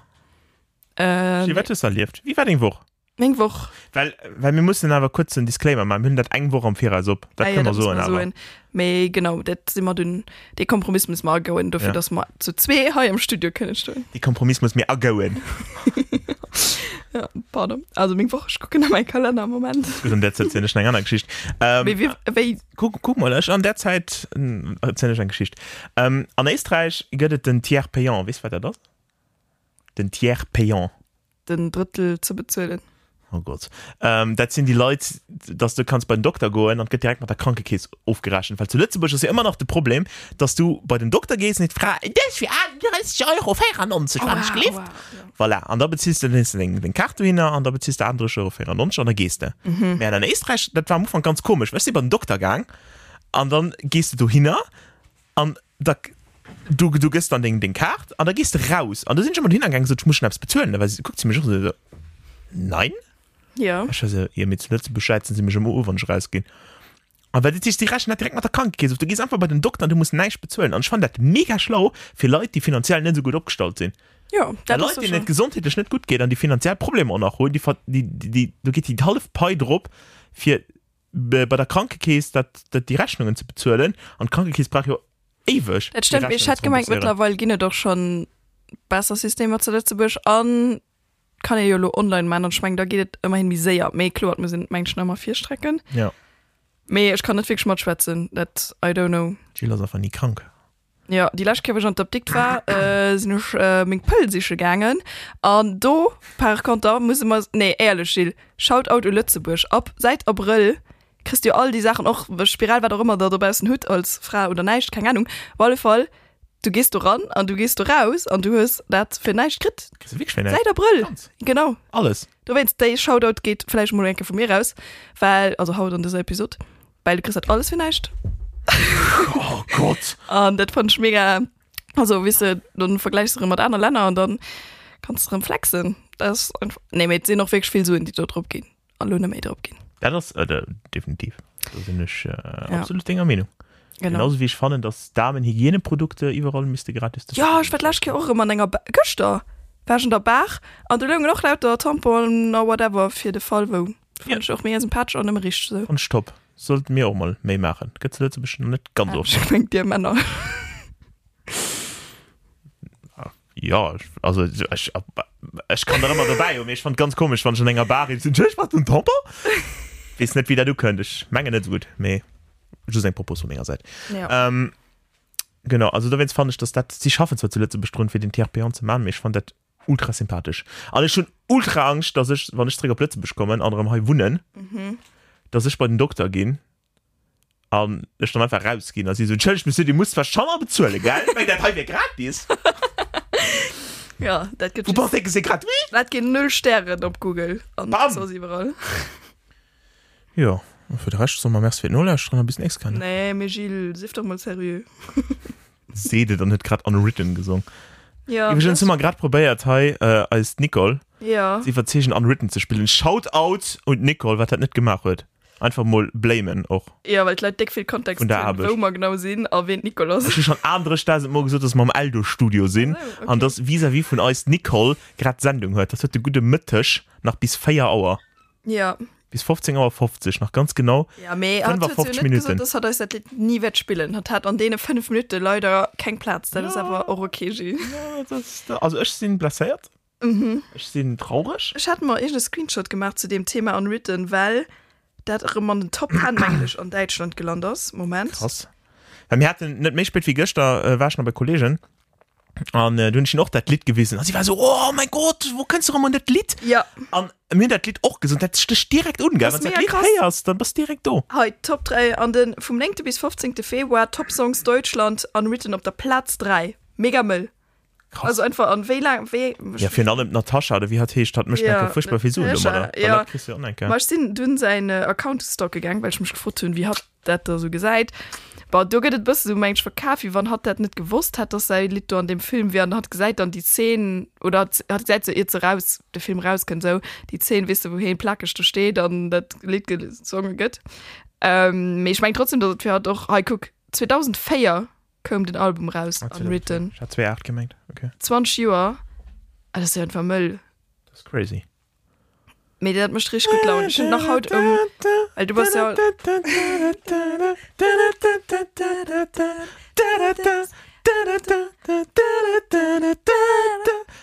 Speaker 1: Wie
Speaker 2: ähm,
Speaker 1: wird das erlebt? Wie war denn Woche?
Speaker 2: Mittwoch.
Speaker 1: Weil, weil wir müssen aber kurz einen Disclaimer machen. Wir haben das eine Woche am Vierer, also Ah das können wir so in aber.
Speaker 2: Me, genau, das sind wir dünn. Den Kompromiss müssen wir gehen, dafür,
Speaker 1: Ja.
Speaker 2: ja. dass wir zu zwei heuer im Studio können stehen.
Speaker 1: Die Kompromiss muss mir auch gehen.
Speaker 2: Ja, pardon. Also Mittwoch, ich gucke nach meinem Kalender im Moment.
Speaker 1: Gut, und jetzt erzähle ich eine andere Geschichte. Ähm,
Speaker 2: Wie, wie, wie,
Speaker 1: guck, guck mal, ich an der Zeit äh, erzähle ich eine Geschichte. Ähm, an Österreich gibt es den Tiers Payant. Weißt du, was das ist? Den Tiers Payant.
Speaker 2: den Drittel zu bezahlen.
Speaker 1: oh Gott ähm, dat sind die Leute dass du kannst beim Doktor gehen und geht direkt mit der Krankenkäs aufgeraschen weil zu Lützeburg ist ja immer noch das Problem dass du bei den Doktor gehst nicht fragst für 30 Euro 94 wow,
Speaker 2: Wow,
Speaker 1: wow.
Speaker 2: wow.
Speaker 1: Voilà. und da beziehst du den, den, den Karte hin und da beziehst du andere Euro 94 und dann gehst du mhm. ja, dann Österreich das war am Anfang ganz komisch weißt du beim Doktorgang und dann gehst du hin und da du du gehst dann den den Kart und da gehst du raus und da sind schon mal hingegangen so ich muss schnaps bezahlen weil sie guckt sie mich an, so, nein
Speaker 2: Ja.
Speaker 1: Ich weiß ja, ihr mit zuletzt Bescheid sind sie mich immer wenn ich rausgehen. Aber das ist die Rechnung direkt nach der Krankenkasse. Du gehst einfach bei den Doktor und du musst nichts bezahlen. Und ich fand das mega schlau für Leute, die finanziell nicht so gut aufgestellt sind.
Speaker 2: Ja,
Speaker 1: Da
Speaker 2: das
Speaker 1: Leute,
Speaker 2: ist
Speaker 1: denen
Speaker 2: schon.
Speaker 1: nicht gesundheitlich nicht gut geht, dann die finanziell Probleme auch noch holen. Die, ver- die, die, die, du gehst die halbe Pei drauf für äh, bei bei der Krankenkasse dat- dat die Rechnungen zu bezahlen. Und die Krankenkasse braucht ja ewig.
Speaker 2: Das stimmt,
Speaker 1: die Rechnungen
Speaker 2: ich hatte
Speaker 1: zu
Speaker 2: gemeint,
Speaker 1: kompensieren.
Speaker 2: mittlerweile gehen doch schon besser Systeme zu Lützeburg an. Kann ich ja nur online machen und ich meine, da geht es immerhin wie sehr. Mehr klar, wir sind manchmal immer vier Strecken.
Speaker 1: Ja,
Speaker 2: Mehr, ich kann nicht wirklich mal schwätzen. Das, I don't know.
Speaker 1: Gila ist einfach nie krank.
Speaker 2: Ja, die letzte Mal, als ich an der Optik war, äh, sind ich äh, mit Pölsisch gegangen. Und da, per Konto, muss ich mal, nee, ehrlich, Gilles, schaut out in Lützeburg. Ab, seit April kriegst du all die Sachen, auch Spiral, was auch immer, da du bist ein Hüt als Frau oder nicht, keine Ahnung. Auf alle Fall, du gehst da ran und du gehst da raus und du hast das für nicht gekriegt.
Speaker 1: Kriegst du wirklich schwer, ne?
Speaker 2: Seit April.
Speaker 1: Ganz.
Speaker 2: Genau.
Speaker 1: Alles.
Speaker 2: Du wennst der Shoutout geht vielleicht mal denke von mir raus weil also haut an dieser Episode weil du kriegst halt alles vielleicht
Speaker 1: Oh Gott.
Speaker 2: und das fand ich mega also wisse dann vergleichst du mit anderen Ländern und dann kannst du drin flexen das ist einfach nee jetzt sehen noch wirklich viel so in die dort drauf gehen alle mehr drauf gehen
Speaker 1: Ja, das, äh, da, definitiv. Da bin ich äh, ja. absolut deiner Meinung. Genau.
Speaker 2: genau
Speaker 1: Genauso wie ich fand, dass Damenhygieneprodukte überall müsste gratis sein.
Speaker 2: ja ich werde lasch auch immer länger Göster war schon der Bach und du lügen noch lauter Tampon oder whatever für den Fall wo
Speaker 1: Ja.
Speaker 2: ja. ich auch mehr sympathisch und im Riecht so
Speaker 1: Und stopp. Sollten wir auch mal mehr machen. Geht es letzte bisschen nicht ganz ja. oft.
Speaker 2: ich denk dir Männer
Speaker 1: Ja, ich, also ich, ich kann da immer dabei und ich fand ganz komisch, wenn schon länger Bar ist. Ich mach den Topper. Weiß nicht, wie da du könntest. Ich meine nicht so gut. Nee. Du ein Propos von meiner Seite.
Speaker 2: ja.
Speaker 1: Ähm, genau, also da wenn's fand ich, dass das, sie schaffen zwar zuletzt bestimmt für den TRP zu machen, aber ich fand das ultra sympathisch. Also ich schon ultra Angst, dass ich, wenn ich Träger plötzlich komme, in anderem Hai wohnen, mhm. dass ich bei den Doktor gehen, und ich dann einfach rausgehen, also ich so, Entschuldigung, Monsieur, die muss zwar schon mal bezahlen, gell? Weil das Hai wäre gratis.
Speaker 2: ja das gibt
Speaker 1: Du brauchst denken, sie gratis.
Speaker 2: Dat gin null Sternen op Google Und
Speaker 1: Bam.
Speaker 2: so ist überall.
Speaker 1: Ja, und für den Rest soll man erst für null erst ein bisschen extra. Nee.
Speaker 2: Nee mir Gilles, sieh doch mal serieux
Speaker 1: Seht ihr dann nicht gerade Unwritten gesungen.
Speaker 2: ja,
Speaker 1: Ja, Übrigens sind wir gerade probiert, Hai, äh, als Nicole,
Speaker 2: ja.
Speaker 1: sie verzichten Unwritten zu spielen. Shoutout und Nicole, was hat nicht gemacht wird. Einfach mal blamen auch.
Speaker 2: ja weil Leute dick viel Kontext
Speaker 1: Und da hab ich.
Speaker 2: wo man genau sehen erwähnt Nikolaus
Speaker 1: Es ist schon andere Stars immer gesagt, dass wir im Aldo-Studio sind.
Speaker 2: Oh, okay.
Speaker 1: Und das vis-à-vis von uns Nicole gerade Sendung hört. Das wird eine gute Mittag nach bis 4 Uhr.
Speaker 2: ja
Speaker 1: Bis 15.50 Uhr, 50, noch ganz genau.
Speaker 2: ja me
Speaker 1: 55 Minuten.
Speaker 2: gesagt, das hat euch seit nie wettspielen hat hat an denen fünf Minuten leider kein Platz das ja. ist aber auch okay Gilles.
Speaker 1: Ja, das, also ich bin blasiert. Mhm. Ich bin traurig.
Speaker 2: ich hatte mal einen Screenshot gemacht zu dem Thema unwritten weil dat immer den Top anmänglisch an Deutschland gelandet ist. Moment
Speaker 1: Krass. Weil mir hat nicht mehr gespielt wie gestern, äh, war ich noch bei Kollegen. Und äh, du hast auch das Lied gewesen. Und sie war so, oh mein Gott, wo kannst du immer das Lied?
Speaker 2: ja
Speaker 1: Und mir hat das Lied auch gesund. Das ist direkt ungeil.
Speaker 2: Das
Speaker 1: Wenn
Speaker 2: ist
Speaker 1: du das
Speaker 2: mega
Speaker 1: Lied
Speaker 2: krass.
Speaker 1: heierst, dann bist du direkt da.
Speaker 2: Heute Top 3 an den vom 9. bis 15. Februar Top Songs Deutschland unwritten auf der Platz 3. Mega Müll.
Speaker 1: Krass.
Speaker 2: Also einfach an wie lang, wie,
Speaker 1: Ja, für allem Natascha, oder wie hat er, statt mich
Speaker 2: Ja,
Speaker 1: ja, furchtbar viel Suchen,
Speaker 2: Natascha,
Speaker 1: oder?
Speaker 2: ja.
Speaker 1: Weil das kriegst du ja. auch nicht, gell?
Speaker 2: Mal sind dünn seine Account-Stock gegangen, weil ich mich gefragt habe, wie hat das da so gesagt? Aber du geht das bisschen so, manchmal für Kaffee, wann hat das nicht gewusst, hat das sein Lied da an dem Film werden, hat gesagt, dann die Szenen, oder hat, hat gesagt, so, jetzt raus, der Film raus kann, so, die Szenen, wisst ihr, wohin plakisch du steht, dann das Lied gesungen geht. Ähm, aber ich meine trotzdem, dass wir doch, hey, guck, 2004 kam das Album raus,
Speaker 1: Hat sie
Speaker 2: Unwritten.
Speaker 1: das- Ich hab 2,8 gemerkt. Okay.
Speaker 2: 20 Jahre, Ah, das ist ja einfach Müll.
Speaker 1: Das ist crazy.
Speaker 2: Mir das hat mich richtig gut gelaunt. Ich bin noch heute um, weil du warst ja...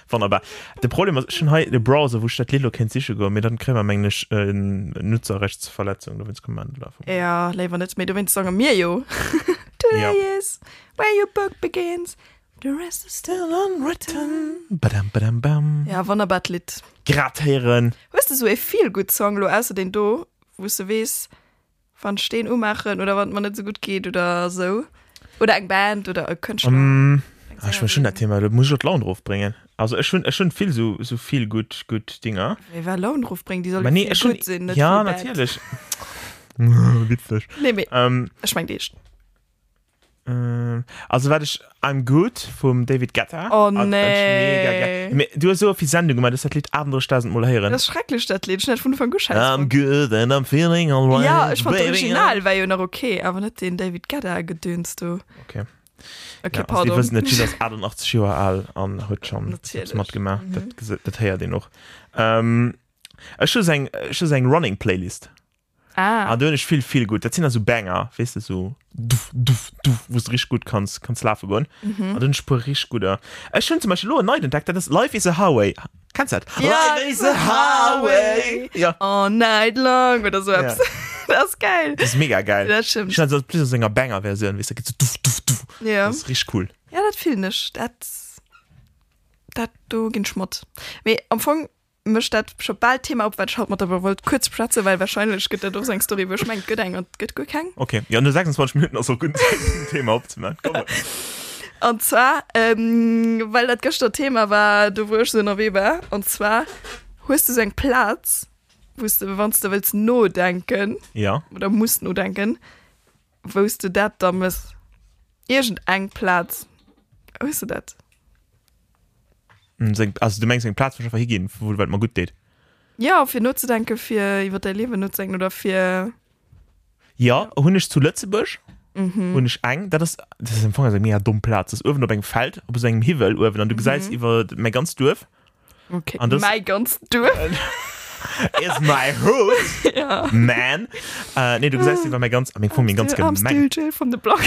Speaker 1: Wunderbar. Das Problem ist schon heute der Browser, wo statt Lilo kennt sich sogar, mir dann kriegen wir manchmal äh, Nutzerrechtsverletzungen, wenn es Kommando laufen.
Speaker 2: Ja, leider nicht mehr. Du willst sagen, mir jo. Today
Speaker 1: Ja.
Speaker 2: ja. is where your book begins. The rest is still unwritten.
Speaker 1: Badam, badam, bam.
Speaker 2: Ja, wunderbar, Lied.
Speaker 1: grad heren
Speaker 2: weißt du so viel gut Song lo also den do wo du wes wann stehen ummachen oder wann man nicht so gut geht oder so oder eng Band oder ein Künstler
Speaker 1: mm. ah, ich will schon das Thema da muss ich Laun drauf bringen also es schon es schon viel so so viel gut gut Dinger
Speaker 2: wer Lohnruf bringen die soll
Speaker 1: aber nee es schon
Speaker 2: gut sind nicht
Speaker 1: ja
Speaker 2: viel Band.
Speaker 1: natürlich witzig
Speaker 2: nee, nee,
Speaker 1: ähm,
Speaker 2: ich mein, die ist-
Speaker 1: Ähm, also war ich I'm Good vom David Gatter.
Speaker 2: Oh,
Speaker 1: Also, das ist mega
Speaker 2: nee.
Speaker 1: geil. Me- Du hast so viel Sendung gemacht, das hat Lied Abendrostasend mal hören.
Speaker 2: das ist schrecklich das Lied schnell von von
Speaker 1: I'm good and I'm feeling alright.
Speaker 2: ja ich fand das
Speaker 1: baby.
Speaker 2: original war ja noch okay aber nicht den David Gadda gedönst du
Speaker 1: Okay. Ja,
Speaker 2: okay ja,
Speaker 1: also die
Speaker 2: pardon
Speaker 1: wissen natürlich, dass 88 Jahre alt an heute schon
Speaker 2: Natürlich. Mhm.
Speaker 1: das Mod gemacht. Das, das, das her den noch. Ähm, ich schon sagen, ich schon sagen Running Playlist.
Speaker 2: ah,
Speaker 1: Ah, da ist viel, viel gut. Das sind also Banger, weißt du, so duff, duff, duff, wo es richtig gut kannst, kannst laufen gehen. Mhm. Und dann spür richtig gut. an. Ich schon zum Beispiel, oh, nein, entdeckt, das ist Life is a Highway. Kannst du das?
Speaker 2: Ja,
Speaker 1: Life is
Speaker 2: it's
Speaker 1: a
Speaker 2: a highway.
Speaker 1: Highway. Ja,
Speaker 2: all night long oder so
Speaker 1: Ja.
Speaker 2: ja. das ist geil
Speaker 1: das ist mega geil.
Speaker 2: Das stimmt.
Speaker 1: Ich hatte so plus so eine Banger-Version, weißt du, da geht's so duff, duff, duff.
Speaker 2: ja
Speaker 1: Das ist richtig cool.
Speaker 2: ja das viel nicht das das du gehen schmott nee, am Anfang mischt das schon bald Thema auf weil schaut man aber wollt kurz Platze weil wahrscheinlich geht da doch sein Story wo ich mein gut ein und gut gut kein
Speaker 1: Okay, ja, nur 26 Minuten aus so gut ein Thema aufzumachen. Komm mal.
Speaker 2: Und zwar, ähm, weil das gestern Thema war, du wirst so noch Weber. Und zwar, hast du so einen Platz, wo du, wenn du willst, nur denken,
Speaker 1: Ja,
Speaker 2: oder musst nur denken, wo du das dann musst. Irgendein Platz. Weißt du das?
Speaker 1: Und so ein- also du meinst, den Platz, wo ich einfach hingehen, wo es mal gut geht.
Speaker 2: Ja, für nur zu denken, für über dein Leben nur zu denken, oder für.
Speaker 1: Ja, hun ich zu Lützebusch. Mhm. Und ich eng, das ist, das ist im Anfang ein mega dumm Platz. Das ist irgendwo beim Feld, ob es einem Himmel, oder
Speaker 2: Mhm.
Speaker 1: wenn du gesagt über mein ganz Dorf,
Speaker 2: Okay,
Speaker 1: Und das- Äh,
Speaker 2: mein ganz durch.
Speaker 1: is my hood,
Speaker 2: Ja. Ah.
Speaker 1: man. Äh, nee, du gesagt über mein ganz, ich fand mein ganz
Speaker 2: Am
Speaker 1: gemeng.
Speaker 2: Stilchill von der Block.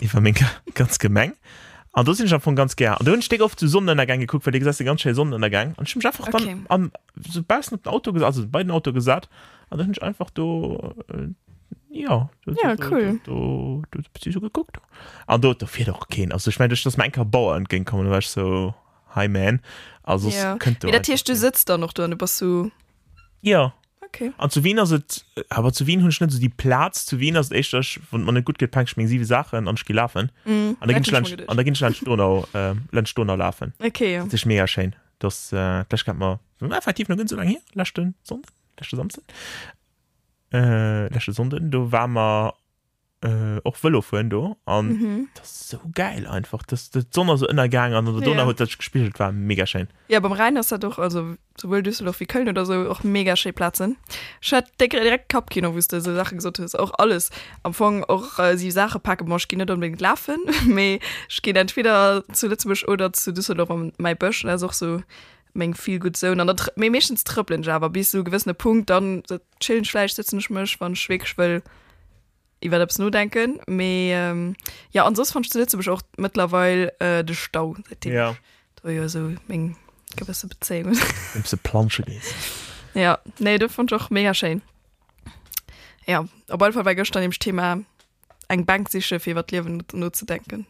Speaker 1: Ich fand mein ga- ganz gemeng. Und das sind schon von ganz gern. Und dann stehe ich oft zu Sonnenuntergang geguckt, weil du gesagt hast, ganz schön Sonnenuntergang. Und ich hab mich einfach okay.
Speaker 2: Okay.
Speaker 1: dann am, so bei dem Auto gesagt, also bei dem Auto gesagt. Und dann bin ich einfach do, äh, ja. do-
Speaker 2: Ja,
Speaker 1: do-
Speaker 2: cool.
Speaker 1: Do, do, do, do, so geguckt. Und dort, da fehlt auch kein. Also ich meine, dass das mein Bauer entgegenkommen, da war ich so, hi man. Also
Speaker 2: Ja.
Speaker 1: es könnte.
Speaker 2: Wie der Tisch, du sitzt da noch da, und du bist so.
Speaker 1: Ja.
Speaker 2: Okay.
Speaker 1: Und zu Wien also, aber zu Wien hun nicht so die Platz zu Wien ist echt dass, wenn man nicht gut gepackt schmin sie Sachen und gelaufen
Speaker 2: Mhm.
Speaker 1: und da
Speaker 2: Hat
Speaker 1: ging
Speaker 2: mich schon gedacht.
Speaker 1: und da ging Land Donau äh, Land Donau laufen
Speaker 2: Okay, ja.
Speaker 1: das ist mega schön das äh, das kann man effektiv noch ganz so lange hier letzte Sonntag letzte Samstag äh, letzte Sonntag da waren wir äh, auch Velo vorhin da und
Speaker 2: Mhm.
Speaker 1: das ist so geil einfach das das Sonne so in der Gang und der
Speaker 2: Ja.
Speaker 1: Donau hat das gespielt war mega schön
Speaker 2: Ja, beim Rhein ist da doch, also sowohl Düsseldorf wie Köln oder so, auch mega schön Platz hin. Ich hatte direkt- direkt Kopfkino, wo du so Sachen gesagt hast, auch alles. Am Anfang auch äh, die Sache packen, muss ich gehe nicht unbedingt laufen, aber ich gehe entweder zu Lützburg oder zu Düsseldorf an mein Bösch, das ist auch so mein viel gut so. Und dann tr- mir meistens trippeln, ja, aber bis zu einem gewissen Punkt, dann so chillen, Fleisch sitzen, ich mich, wenn ich wirklich will, ich werde es nur denken. Aber, ähm, ja, und sonst fand ich zu Lützburg auch mittlerweile äh, den Stau, seitdem
Speaker 1: ja
Speaker 2: Oh ja, so mein gewisse Beziehung.
Speaker 1: ein bisschen Plansche gewesen
Speaker 2: ja, nee, das fand ich auch mega schön. Ja, auf jeden Fall war gestern im Thema ein Bank sich für was Leben nur zu denken.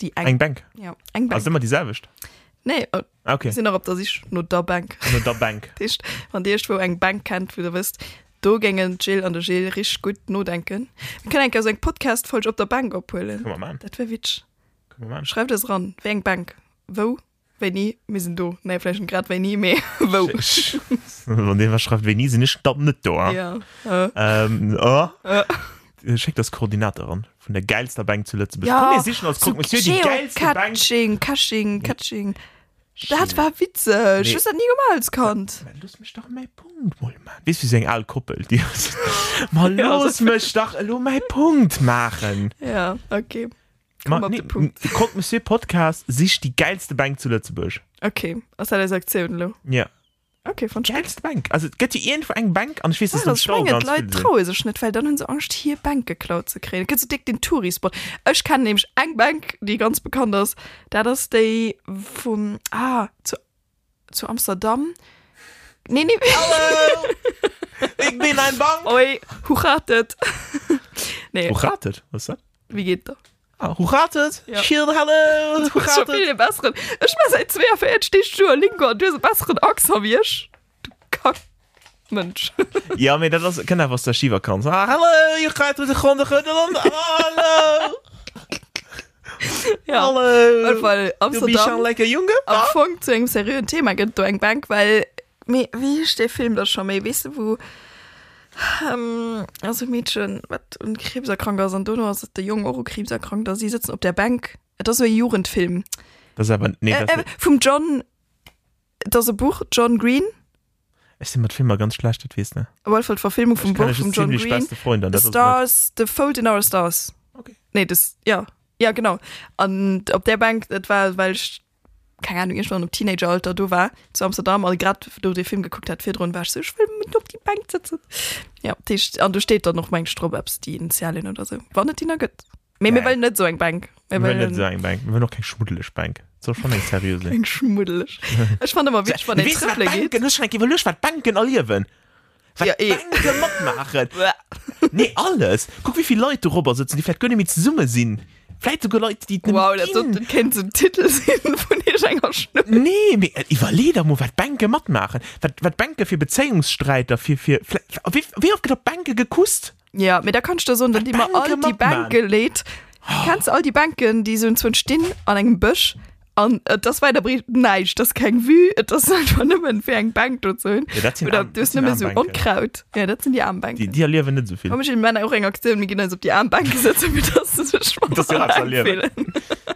Speaker 2: Die
Speaker 1: ein
Speaker 2: ein, ein
Speaker 1: Bank
Speaker 2: ja, ein Bank.
Speaker 1: also
Speaker 2: Also,
Speaker 1: immer dieselbe Ah,
Speaker 2: nee, oh,
Speaker 1: okay
Speaker 2: okay. sind auch, ob das ist nur der Bank.
Speaker 1: nur der Bank
Speaker 2: Das ist, Wenn dir wo ein Bank kennt, wie du wisst, da gingen Jill und der Jill richtig gut nur denken. Wir können eigentlich so einen Podcast falsch auf der Bank abholen.
Speaker 1: Guck mal, Mann.
Speaker 2: Das wäre witzig.
Speaker 1: Guck mal, Mann.
Speaker 2: Schreib das ran. Wer ein Bank? Wo? Wenn nie, wir sind da. Nein, vielleicht gerade, wenn nie mehr. Wo?
Speaker 1: Von dem was schreibt Venise nicht stop nicht da.
Speaker 2: Ja. Äh.
Speaker 1: Ähm, oh. Schick das Koordinator an. Von der geilsten Bank zuletzt. Komm, ihr seht schon, als guck, Monsieur, die geilste Bank.
Speaker 2: Katsching, Kasching, Katsching. Das war Witze. Nee. Ich wusste das nie gemals konnt.
Speaker 1: Man, Lass mich doch mein Punkt mal machen. Wisst ihr, wie sie alle koppelt? Die mal
Speaker 2: Ja,
Speaker 1: los,
Speaker 2: so-
Speaker 1: mich doch lo mein Punkt machen.
Speaker 2: Ja, okay.
Speaker 1: Ma,
Speaker 2: auf
Speaker 1: nee,
Speaker 2: den Punkt.
Speaker 1: m- Guck, Monsieur Podcast, sich die geilste Bank zuletzt.
Speaker 2: Okay. Was hat er gesagt? Zehn, lo.
Speaker 1: Ja.
Speaker 2: Okay, von Sch-
Speaker 1: Geilste Bank. Also, geht ihr irgendwo eine Bank an? Ich weiß,
Speaker 2: Ja,
Speaker 1: dass das
Speaker 2: Ah, das
Speaker 1: ist ein
Speaker 2: schwinget, Leute
Speaker 1: Stau.
Speaker 2: trauen sich nicht, weil dann haben sie Angst, hier Bank geklaut zu kriegen. Kannst du dick den Tourispot. Ich kann nämlich eine Bank, die ganz bekannt ist, da das die vom, ah, zu, zu Amsterdam. Nee, nee.
Speaker 1: Ich bin ein Bank.
Speaker 2: Oi, hurratet. nee,
Speaker 1: Wo ratet? Was ist das?
Speaker 2: wie geht das?
Speaker 1: Ah, hoe gaat het?
Speaker 2: Ja.
Speaker 1: Shield, hallo! Hoe
Speaker 2: Schon
Speaker 1: gaat
Speaker 2: viel
Speaker 1: het?
Speaker 2: den besseren. Ich mach seit zwei Jahren jetzt stehst du Lingo und du hast einen besseren Ochs, hab ich. Du Kack. Mensch.
Speaker 1: Ja, maar dat was, ken was de Shiva kans. Ah, hallo, je gaat door de grond. Hallo! Ah, Hallo!
Speaker 2: Ja.
Speaker 1: hallo.
Speaker 2: Weil
Speaker 1: Du bist schon
Speaker 2: Amsterdam Oh.
Speaker 1: lekker jongen?
Speaker 2: am
Speaker 1: Ah.
Speaker 2: Funk zu einem seriösen Thema geht durch eine Bank, weil, mir, wie ist der Film das schon mal? Weißt du, wo, ähm, also Mädchen, was, und Krebserkranker sind, du hast der junge Euro Krebserkranker, sie sitzen auf der Bank. Das ist so ein Jugendfilm.
Speaker 1: Dat is aber, nee,
Speaker 2: Äh,
Speaker 1: dat
Speaker 2: äh, vom John, das ist ein Buch, John Green.
Speaker 1: ist immer Film mal ganz schlecht, das weißt du. ne?
Speaker 2: Wolf hat Verfilmung vom
Speaker 1: Ich kann
Speaker 2: Buch
Speaker 1: euch
Speaker 2: von
Speaker 1: das
Speaker 2: John
Speaker 1: ziemlich
Speaker 2: Green.
Speaker 1: beste Freund an.
Speaker 2: The
Speaker 1: Das ist blöd.
Speaker 2: Stars, The Fold in Our Stars.
Speaker 1: Okay.
Speaker 2: Nee, das, ja. Ja, genau. Und auf der Bank, das war, weil ich, keine Ahnung, irgendwann im Teenageralter du war, zu Amsterdam, und gerade, du den Film geguckt hast, viel drin warst, so, ich will mit auf die Bank sitzen. Ja, die, ist- und du steht da noch mein Strohbabs, die Initialien oder so. War nicht die noch gut. Nee, wir
Speaker 1: Nein.
Speaker 2: wollen nicht so eine Bank.
Speaker 1: Wir wollen nicht sagen, Bank. Wir wollen auch kein schmuddeliges Bank. So schon nicht seriös.
Speaker 2: Ein schmuddelig. Ich fand immer, wie ich von den
Speaker 1: Weißt du, was
Speaker 2: Triple geht.
Speaker 1: Banken, das ist eigentlich, weil ich was Banken erleben. Was
Speaker 2: Ja, eh.
Speaker 1: Banken mitmachen. nee, alles. Guck, wie viele Leute darüber sitzen, die vielleicht gar nicht mit Summe sind. Vielleicht sogar Leute, die...
Speaker 2: Wow, das,
Speaker 1: Kind-
Speaker 2: das kennt so einen Titel sehen, von dem ich eigentlich schnüffel.
Speaker 1: Nee, mir- äh, überleder muss was Banke matt machen. Was, was Banke für Beziehungsstreiter, für, für, für wie, wie oft hat Banke gekusst?
Speaker 2: Ja, mit der kannst du so, dann die mal
Speaker 1: Banke
Speaker 2: all die
Speaker 1: macht
Speaker 2: Banken lädt. Kannst all die Banken, die so inzwischen stehen, an einem Busch. Und äh, das weiter bringt, nein, das ist kein Wü, das ist einfach nicht mehr für eine Bank dort so.
Speaker 1: das sind
Speaker 2: Oder
Speaker 1: Arm-
Speaker 2: du
Speaker 1: das
Speaker 2: hast nicht mehr
Speaker 1: sind
Speaker 2: so
Speaker 1: Armbanken.
Speaker 2: Unkraut. Ja, das sind die
Speaker 1: Die,
Speaker 2: Armbanken.
Speaker 1: die erleben nicht so viel.
Speaker 2: Haben wir in meiner auch eine Aktion, wir gehen also auf die Armbank setzen, wie das ist so schwach.
Speaker 1: Das ist ja absolut.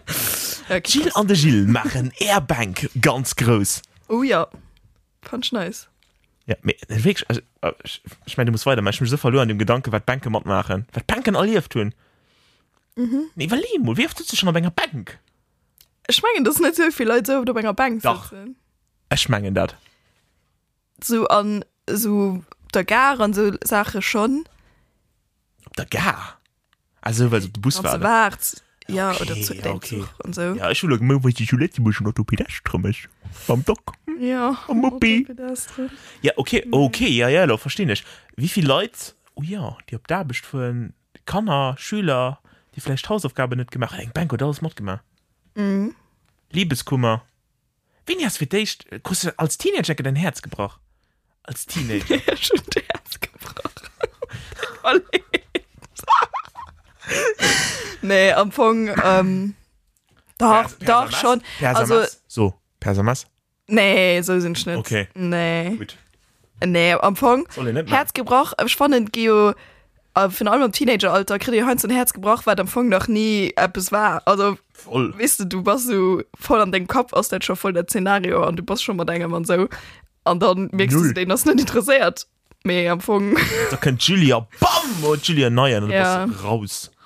Speaker 2: okay.
Speaker 1: Gilles an de Gilles machen Airbank ganz groß.
Speaker 2: Oh ja, fand ich nice.
Speaker 1: Ja, mir- wirklich, also, äh, ich, ich meine, du musst weiter, machen. ich bin so verloren an dem Gedanke, was Banken matt machen. Was Banken alle tun. Mhm. Nee, weil mal, wie oft sitzt du schon auf einer Bank?
Speaker 2: Ich meine, das sind nicht so viele Leute, so auf der Bank
Speaker 1: Doch.
Speaker 2: sitzen.
Speaker 1: Ich meine das.
Speaker 2: so an so der gar an so Sache schon
Speaker 1: Ob da gar. Also, weil so der Bus war. ne?
Speaker 2: wart ja okay, oder zu
Speaker 1: ja,
Speaker 2: ja,
Speaker 1: okay.
Speaker 2: okay. und so ja,
Speaker 1: Ja, ich will auch mal, weil die Toilette, die muss noch du Pedastrum ist. Beim Dock.
Speaker 2: ja.
Speaker 1: Oh, Muppi.
Speaker 2: Oder das drin.
Speaker 1: Ja, okay, okay, ja, ja, lo, verstehe ich. Wie viele Leute, oh ja, die ob da bist von Kanner, Schüler, die vielleicht Hausaufgabe nicht gemacht haben, Bank oder alles Mord gemacht.
Speaker 2: Mhm.
Speaker 1: Liebeskummer. Wen hast du für dich, äh, kriegst du als Teenager dein Herz gebracht? Als Teenager.
Speaker 2: ja schon der Herz gebrochen Kollege. nee am Anfang ähm, doch
Speaker 1: Pers-
Speaker 2: doch
Speaker 1: Persermass?
Speaker 2: schon
Speaker 1: Persermass.
Speaker 2: also
Speaker 1: So, Persermass?
Speaker 2: nee so sind Schnitt
Speaker 1: Okay.
Speaker 2: nee
Speaker 1: Gut.
Speaker 2: nee am Anfang
Speaker 1: Soll ich nicht machen.
Speaker 2: Herzgebrauch äh, spannend Geo äh, von allem im Teenageralter krieg ihr Heinz und Herzgebrauch weil am Anfang noch nie etwas war also
Speaker 1: Voll.
Speaker 2: weißt du, du warst so voll an den Kopf aus der schon voll der Szenario und du bist schon mal deinem Mann so und dann merkst du
Speaker 1: Null.
Speaker 2: den das nicht interessiert mehr am Anfang
Speaker 1: Da kann Julia, bam, und Julia Neuer, und
Speaker 2: Ja.
Speaker 1: dann bist du raus.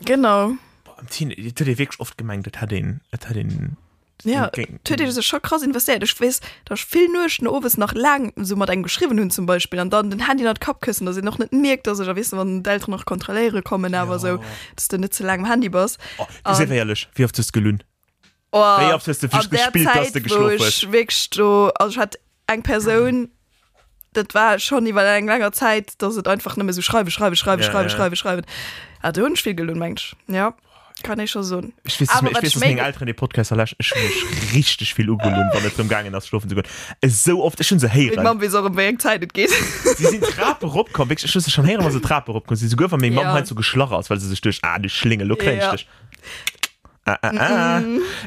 Speaker 2: genau
Speaker 1: Boah, am Teenager, das hat dir wirklich oft gemeint, das hat den, das hat den,
Speaker 2: ja
Speaker 1: Ging-
Speaker 2: tut dir das schon krass investiert ich weiß da viel nur Schnobes nach lang so mal dein geschrieben hun zum Beispiel und dann den Handy in den Kopf küssen dass ich noch nicht merkt dass ich da wissen wann die Eltern noch Kontrolleure kommen aber so dass du nicht so lange am Handy bist
Speaker 1: oh, das ist
Speaker 2: Ähm.
Speaker 1: ehrlich, wie oft ist es gelungen?
Speaker 2: Oh,
Speaker 1: Wie oft hast du Fisch
Speaker 2: an der
Speaker 1: gespielt, dass
Speaker 2: Zeit,
Speaker 1: du
Speaker 2: wo
Speaker 1: geschlafen
Speaker 2: ich wirklich so, also ich hatte eine Person, das war schon über eine lange Zeit, dass es einfach nicht mehr so schreibe, schreibe, schreibe,
Speaker 1: Ja, ja.
Speaker 2: schreibe, schreibe, schreibe. Hat du viel gelohnt, Mensch. Ja, kann ich schon so.
Speaker 1: Ich weiß, dass
Speaker 2: Aber
Speaker 1: mir- ich weiß,
Speaker 2: was
Speaker 1: dass mein
Speaker 2: schmeckt-
Speaker 1: Alter in den Podcast erlascht. Ich muss richtig viel umgelungen, wenn ich drum gegangen ist, schlafen zu können. So oft, ich schon so
Speaker 2: Ich
Speaker 1: heiran.
Speaker 2: mache, wie es auch im Weg Zeit nicht geht.
Speaker 1: Sie sind Trappe rumgekommen. Wirklich, ich wusste schon heiran, was sie Trappe rumgekommen sind. Sie gehören von meinem
Speaker 2: Ja.
Speaker 1: Mom halt so geschlagen aus, weil sie sich durch, ah, die Schlinge, look,
Speaker 2: Ja.
Speaker 1: ja. dich. Ah, ah, ah.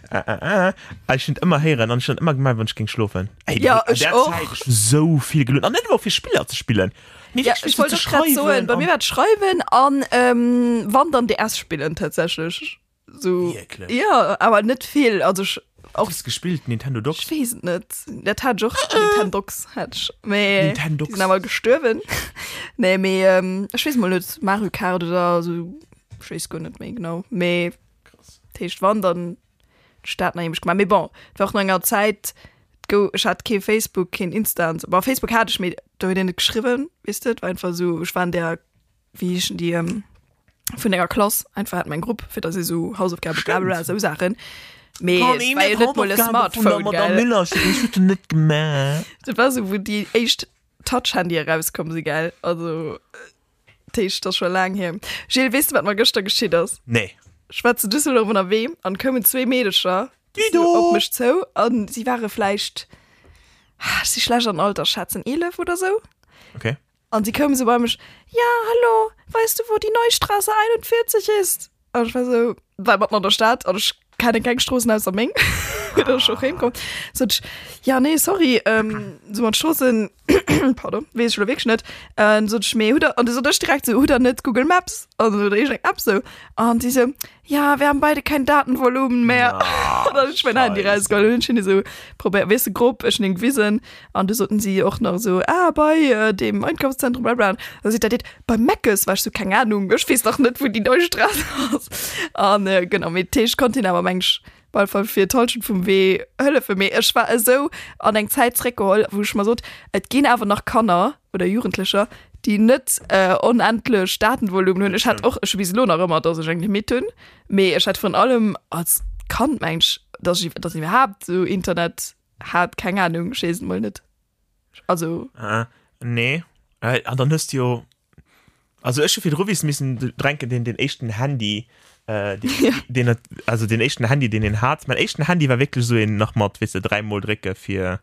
Speaker 1: Ah, ah, ah. Aber Ich bin immer heiran und ich bin immer gemeint, wenn ich ging schlafen. Ey,
Speaker 2: Ja,
Speaker 1: an
Speaker 2: ich
Speaker 1: der
Speaker 2: auch.
Speaker 1: Zeit ist so viel gelohnt. Und nicht nur für Spieler zu spielen. Nee,
Speaker 2: ja,
Speaker 1: wirklich,
Speaker 2: ich
Speaker 1: so
Speaker 2: wollte
Speaker 1: zu
Speaker 2: doch gerade so.
Speaker 1: schreiben
Speaker 2: Bei mir
Speaker 1: und-
Speaker 2: wird Schreiben an ähm, Wandern DS spielen tatsächlich. So.
Speaker 1: Wirklich?
Speaker 2: Ja, aber nicht viel. Also ich, auch
Speaker 1: Hast du gespielt, Nintendo Docs.
Speaker 2: Ich weiß nicht. Der hat doch
Speaker 1: Äh.
Speaker 2: Nintendox. Hat. Nee,
Speaker 1: Nintendox.
Speaker 2: Die sind aber gestorben. nee, mehr, ähm, ich weiß mal nicht, Mario Kart oder so. Ich weiß gar nicht mehr genau. Mehr. Tisch wandern. Stadt nämlich gemacht. Aber bon, es war auch noch eine Zeit, go, ich hatte kein Facebook, kein Instanz. Aber auf Facebook hatte ich mir da wieder nicht geschrieben, wisst ihr? War einfach so, ich war in der, wie ich in die, ähm, von der Klasse, einfach hat mein Gruppe, für das ich so Hausaufgaben, bla bla, bla, so Sachen. Mehr,
Speaker 1: Komm,
Speaker 2: es
Speaker 1: ich
Speaker 2: war ja
Speaker 1: mit
Speaker 2: nicht mal
Speaker 1: Hausaufgaben von
Speaker 2: ein
Speaker 1: der
Speaker 2: Smartphone,
Speaker 1: Madame
Speaker 2: gell?
Speaker 1: Müller. Ich hätte nicht gemacht.
Speaker 2: Das war so, wo die echt Touch-Handy rauskommen, sie geil. Also, äh, das ist das schon lange her. Gilles, weißt du, was mir gestern geschieht ist?
Speaker 1: Nee.
Speaker 2: schwarze Düsseldorf oder wem an kommen zwei Mädelscher
Speaker 1: Dido!
Speaker 2: mich zu und sie waren vielleicht ah, sie schlagern alter Schatzen 11 oder so
Speaker 1: okay
Speaker 2: und sie kommen so bei mich ja hallo weißt du wo die Neustraße 41 ist und ich war so weil man an der Stadt und ich kann keinen Straßen aus der Menge oder er schon hinkommt so ich, ja nee sorry ähm, so man Straßen pardon wie ich wegschnitt äh, so ich mir Huder und so das direkt so Huder nicht Google Maps und so ich schreck ab so und diese so, ja wir haben beide kein Datenvolumen mehr
Speaker 1: Ah,
Speaker 2: Und dann ist mein Handy
Speaker 1: scheiße.
Speaker 2: rausgeholt und ich bin so probiert weißt du grob ich denke wissen und da sollten sie auch noch so ah bei äh, dem Einkaufszentrum bla bla da sieht da dit, bei Meckes weißt du keine Ahnung ich weiß doch nicht wo die neue Straße ist und äh, genau mit Tisch konnte ich aber Mensch weil von vier Täuschen vom Weh Hölle für mich ich war so an den Zeitrekord wo ich mal so es gehen aber noch Connor oder Jugendlicher die net äh, unendlich Datenvolumen hun ich hat auch ich weiß noch immer dass ich eigentlich mit tun Me ich hat von allem als kann mensch dass ich das überhaupt so Internet hat keine Ahnung schießen mal nicht also
Speaker 1: äh, nee äh, und dann hast du ja- also ist schon viel Ruvis müssen trinken den den echten Handy äh, den, ja. den hat- also den echten Handy den den hat mein echten Handy war wirklich so in nochmal wisse dreimal Drecke für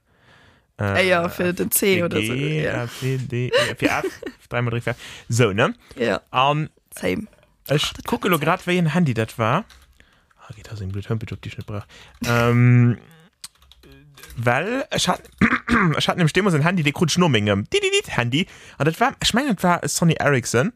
Speaker 2: äh, ja für den C oder so
Speaker 1: Ah, G,
Speaker 2: ja,
Speaker 1: A, C, D, E, für F, dreimal Drecke für F. so ne
Speaker 2: ja
Speaker 1: um,
Speaker 2: same
Speaker 1: Ich gucke nur gerade, welchen Handy das war. Ah, geht aus dem Blut, Hömpel, die Schnitt brach. Ähm, weil ich hatte, ich hatte nämlich immer so ein Handy, der krutscht nur Menge. Die, die, die, Handy. Und das war, ich meine, das war Sony Ericsson.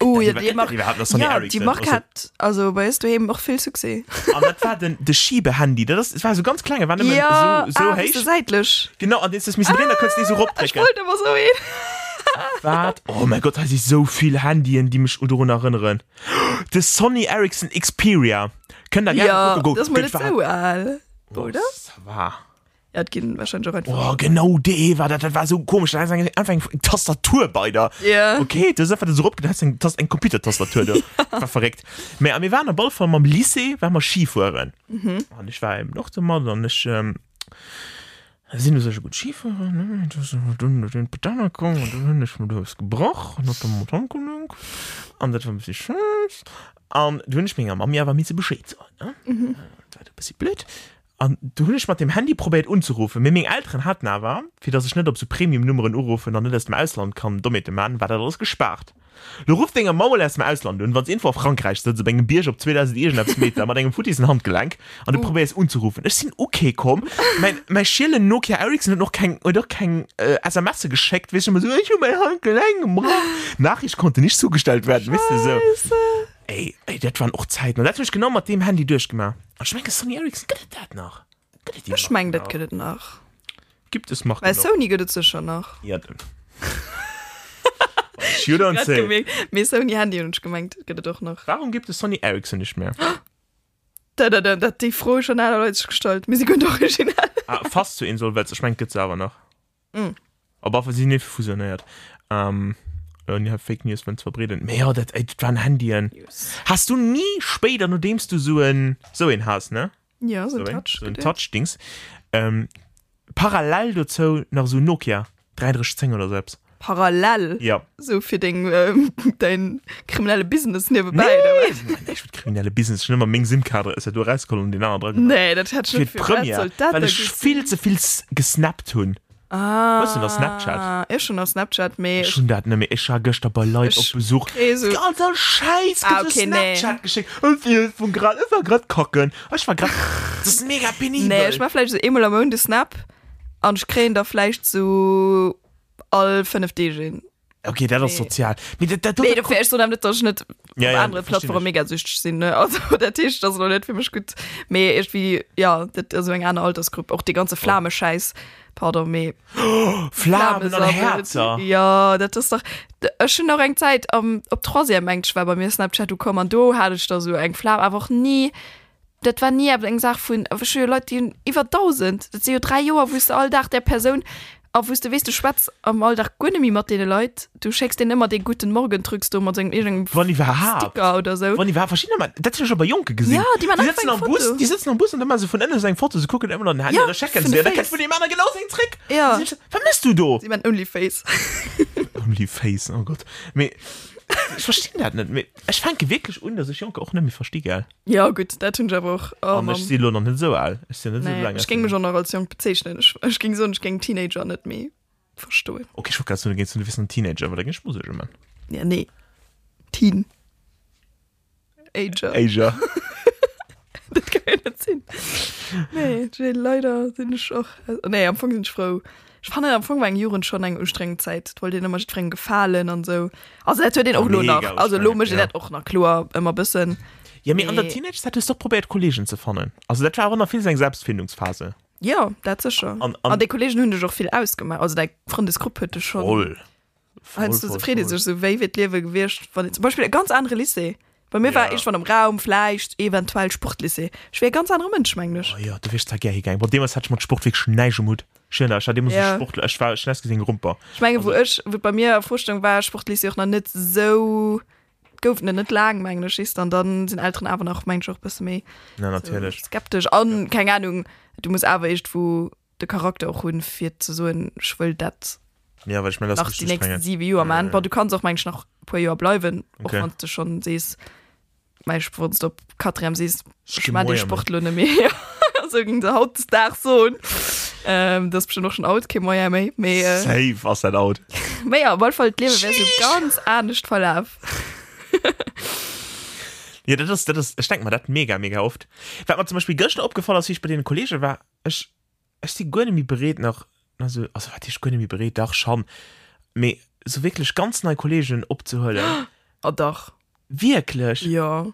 Speaker 2: oh ja
Speaker 1: war-
Speaker 2: die
Speaker 1: die
Speaker 2: macht
Speaker 1: war halt noch Sony
Speaker 2: ja die
Speaker 1: Ericsson,
Speaker 2: macht
Speaker 1: also-
Speaker 2: hat also weißt du eben auch viel Succes
Speaker 1: Und das war dann das Schiebehandy. Das, das war so ganz klein, das war nicht
Speaker 2: ja
Speaker 1: mehr so, so
Speaker 2: ah,
Speaker 1: ah,
Speaker 2: bist du
Speaker 1: heiß.
Speaker 2: seitlich
Speaker 1: Genau, und jetzt ist es ein bisschen drin, da kannst du nicht so
Speaker 2: Ah, ich
Speaker 1: rumdrücken.
Speaker 2: wollte aber so hin
Speaker 1: Wart. Oh mein Gott, da sind so viele Handys, die mich daran erinnern. Das Sony Ericsson Xperia. Könnt ihr gerne
Speaker 2: ja
Speaker 1: gucken,
Speaker 2: das mal nicht so all oder
Speaker 1: Das war...
Speaker 2: er hat gehen wahrscheinlich auch einfach
Speaker 1: Oh, genau der war das, das war so komisch. Da hast du einfach eine Tastatur bei da.
Speaker 2: Ja.
Speaker 1: Okay, das ist einfach so rumgedacht, das ist eine Tas- eine Computertastatur. da. War verreckt. Aber wir waren am Ball von meinem Lycée, waren wir Skifahren. Mhm. Und ich war eben noch zum Mal, und ich, ähm, da sind wir so gut Skifahren, ne? Das ist dann den Pedal gekommen, und dann ist mir das gebrochen, und dann mit Ankunung. Und das war ein bisschen schön. Und du wünschst mir, Mami, aber mir zu Bescheid sagen, ne? Das war ein bisschen blöd. Und du hast mit dem Handy probiert anzurufen. Mit meinen Eltern hatten aber, für das ich nicht auf so Premium-Nummern anrufe und dann nicht aus dem Ausland kann, damit dem Mann war das alles gespart. Du rufst den Mauer aus dem Ausland und wenn es irgendwo auf Frankreich sitzt, so bei einem Biersch auf 2000 irgendwas Meter, mit einem Futis in Handgelenk und du
Speaker 2: Oh.
Speaker 1: uh. probierst anzurufen. Ich sind okay, komm. Mein, mein Schille Nokia Ericsson hat noch kein, hat noch kein äh, SMS geschickt, weißt du, immer so, ich hab mein Handgelenk gebrochen. Nachricht konnte nicht zugestellt werden, weißt du, so. Ey, ey, das waren auch Zeiten. Und das hab ich genau mit dem Handy durchgemacht. Und ich meine, Sony Ericsson, gibt es das noch? Gibt es die
Speaker 2: ich
Speaker 1: noch?
Speaker 2: meine das geht nach
Speaker 1: Gibt es er noch.
Speaker 2: weil
Speaker 1: genau.
Speaker 2: Sony geht es schon noch
Speaker 1: Ja, dann. You don't
Speaker 2: Grad
Speaker 1: say.
Speaker 2: gemerkt, mir ist Sony Handy und ich gemeint geht es doch noch
Speaker 1: Warum gibt es Sony Ericsson nicht mehr?
Speaker 2: da, da, da, da, die froh schon alle Leute gestalt mir sie können doch original
Speaker 1: ah, fast zur Insolvenz. Ich meine, gibt es aber noch.
Speaker 2: Mm.
Speaker 1: Aber für sie nicht fusioniert. Ähm, und ja, Fake News, wenn es verbreitet. Ja, das, ey, das waren Handien. Hast du nie später, nur demst du so ein, so ein hast, ne?
Speaker 2: ja so ein
Speaker 1: so ein,
Speaker 2: Touch
Speaker 1: so ein
Speaker 2: geht
Speaker 1: Touch-Dings. Ähm, parallel dazu noch so Nokia 3310 oder selbst.
Speaker 2: ja. parallel
Speaker 1: Ja.
Speaker 2: so für den ähm, dein kriminelle Business nebenbei
Speaker 1: Nein,
Speaker 2: oder was?
Speaker 1: ich bin kriminelle Business. Schon immer mein SIM-Karte ist ja du rausgekommen und den anderen dran.
Speaker 2: nee das hat schon
Speaker 1: Für die Premiere.
Speaker 2: Soldaten
Speaker 1: Weil ich
Speaker 2: gesehen.
Speaker 1: viel zu viel s- gesnappt hun.
Speaker 2: ah,
Speaker 1: Was ist denn auf Snapchat?
Speaker 2: ist schon auf Snapchat mehr ich,
Speaker 1: Schon da hat E nämlich ich war gestern bei Leuten auf
Speaker 2: Ich-
Speaker 1: Besuch.
Speaker 2: eh so.
Speaker 1: Alter Scheiß,
Speaker 2: Ah,
Speaker 1: gibt's
Speaker 2: okay, nee.
Speaker 1: Snapchat geschickt. Und wir von gerade, ich war gerade kocken. Ah, Ich war gerade, das ist mega penibel.
Speaker 2: nee ich mach vielleicht so immer am Monat Snap und ich kriege da vielleicht so all 5D gehen
Speaker 1: okay, das ist sozial. Nee, das, das,
Speaker 2: Nee, du fährst so damit das nicht
Speaker 1: Ja,
Speaker 2: ja,
Speaker 1: ja,
Speaker 2: ja, andere
Speaker 1: versteh
Speaker 2: Plattformen
Speaker 1: ich.
Speaker 2: mega süchtig sind ne? also der Tisch das ist noch nicht für mich gut mehr irgendwie ja das ist so eine andere Altersgruppe auch die ganze Flamme Scheiß pardon mehr
Speaker 1: Flammen und
Speaker 2: Flamme-
Speaker 1: Herzer.
Speaker 2: ja das ist doch da- schon noch eine Zeit um, ob trotzdem eigentlich war bei mir Snapchat du Kommando hatte ich da so ein Flamme aber auch nie das war nie aber gesagt von aber schön Leute die über 1000 das sind ja drei Jahre wusste all Tag der Person auch wusste weißt du schwarz am Alldach Gunemi mit den Leuten du schickst denen immer den guten Morgen drückst du und irgendeinen
Speaker 1: Wann ich war hart.
Speaker 2: Sticker oder so
Speaker 1: Wann die war verschiedene Mal, das ist ja schon bei Junke gesehen.
Speaker 2: Ja, die machen
Speaker 1: die
Speaker 2: einfach
Speaker 1: sitzen
Speaker 2: ein
Speaker 1: am Bus,
Speaker 2: Foto.
Speaker 1: die sitzen am Bus und immer so von Ende sein Foto, sie gucken immer noch in die Hand
Speaker 2: Ja,
Speaker 1: oder checken
Speaker 2: für
Speaker 1: sie.
Speaker 2: den
Speaker 1: Da
Speaker 2: Face.
Speaker 1: kannst du dem anderen genau seinen Trick.
Speaker 2: Ja.
Speaker 1: Sie sind schon- Vermisst du Um do?
Speaker 2: sie mein Onlyface
Speaker 1: Only Face, oh Gott. Me, ich verstehe das nicht mehr. ich fange wirklich un dass ich Junke auch nicht mehr verstehe gell
Speaker 2: ja gut da tun ich aber auch oh,
Speaker 1: und
Speaker 2: Mann.
Speaker 1: ich sehe noch nicht so alt ich sehe nicht so
Speaker 2: nee,
Speaker 1: lange
Speaker 2: ich ging mich schon noch als jung bezeichnen ich, ich ging so ich ging Teenager nicht mehr verstehe
Speaker 1: okay ich wollte gerade sagen, du gehst zu einem gewissen Teenager aber da gehst du Musik man
Speaker 2: ja nee Teen Ager
Speaker 1: Asia
Speaker 2: das kann ich nicht sehen nee ich- leider sind ich auch also, nee am Anfang sind ich froh ich fand am Anfang war in Juren schon eine strenge Zeit Ich wollte den immer streng gefallen und so also das wird den auch nur
Speaker 1: Mega
Speaker 2: noch also
Speaker 1: anstrengend,
Speaker 2: logisch
Speaker 1: ja.
Speaker 2: ja. auch nach klar immer ein bisschen
Speaker 1: ja mir an der
Speaker 2: Nee.
Speaker 1: Teenager hattest doch probiert Kollegen zu fahren also das war auch noch viel seine Selbstfindungsphase
Speaker 2: ja das ist schon
Speaker 1: An-
Speaker 2: und,
Speaker 1: an-
Speaker 2: und, und die Kollegen haben dich auch viel ausgemacht also deine Freundesgruppe hätte schon
Speaker 1: voll
Speaker 2: Heinz du zufrieden sich so wei wird lewe gewircht von zum Beispiel eine ganz andere Lisse bei mir ja. war
Speaker 1: Ja.
Speaker 2: ich von einem Raum Fleisch eventuell Sportlisse schwer ganz andere Menschmänglisch
Speaker 1: Oh ja du wirst da gerne gegangen bei dem was hatte ich mit Sportweg Schneidemut schön da ich hatte immer so
Speaker 2: Ja.
Speaker 1: Sport ich war schnell gesehen Rumper
Speaker 2: ich meine wo ich wo bei mir Vorstellung war Sportlisse auch noch nicht so gouf net lagenmänglisch ist dann dann sind älteren aber noch mein Job bis mé
Speaker 1: na natürlich
Speaker 2: äh, skeptisch an ja. keine Ahnung du musst aber echt wo der Charakter auch hun vier zu so schwll dat
Speaker 1: ja weil ich mir das
Speaker 2: nach die
Speaker 1: richtig
Speaker 2: nächsten
Speaker 1: strenge-
Speaker 2: sieben Jahre, Mann. Aber du kannst auch manchmal noch ein paar Jahre bleiben, auch
Speaker 1: Okay.
Speaker 2: wenn du schon siehst, manchmal, wenn du auf Katrin siehst, ich
Speaker 1: Stimmt,
Speaker 2: meine
Speaker 1: ja,
Speaker 2: den
Speaker 1: Mann.
Speaker 2: Sportlöhne mehr. Also irgendein Hautstag so. Ähm, das ist bestimmt noch schon alt, kein Moja mehr. Mehr, äh,
Speaker 1: safe was that out
Speaker 2: mehr ja, weil voll Leben wäre so ganz anders voll auf.
Speaker 1: ja das ist das ist ich denke mal das mega mega oft weil mir zum Beispiel gestern aufgefallen ist wie ich bei den Kollegen war ich ich die gerne mir berät nach also also hatte ich gerne mir berät doch schon mir so wirklich ganz neue Kollegen abzuholen
Speaker 2: Oh doch,
Speaker 1: wirklich
Speaker 2: ja.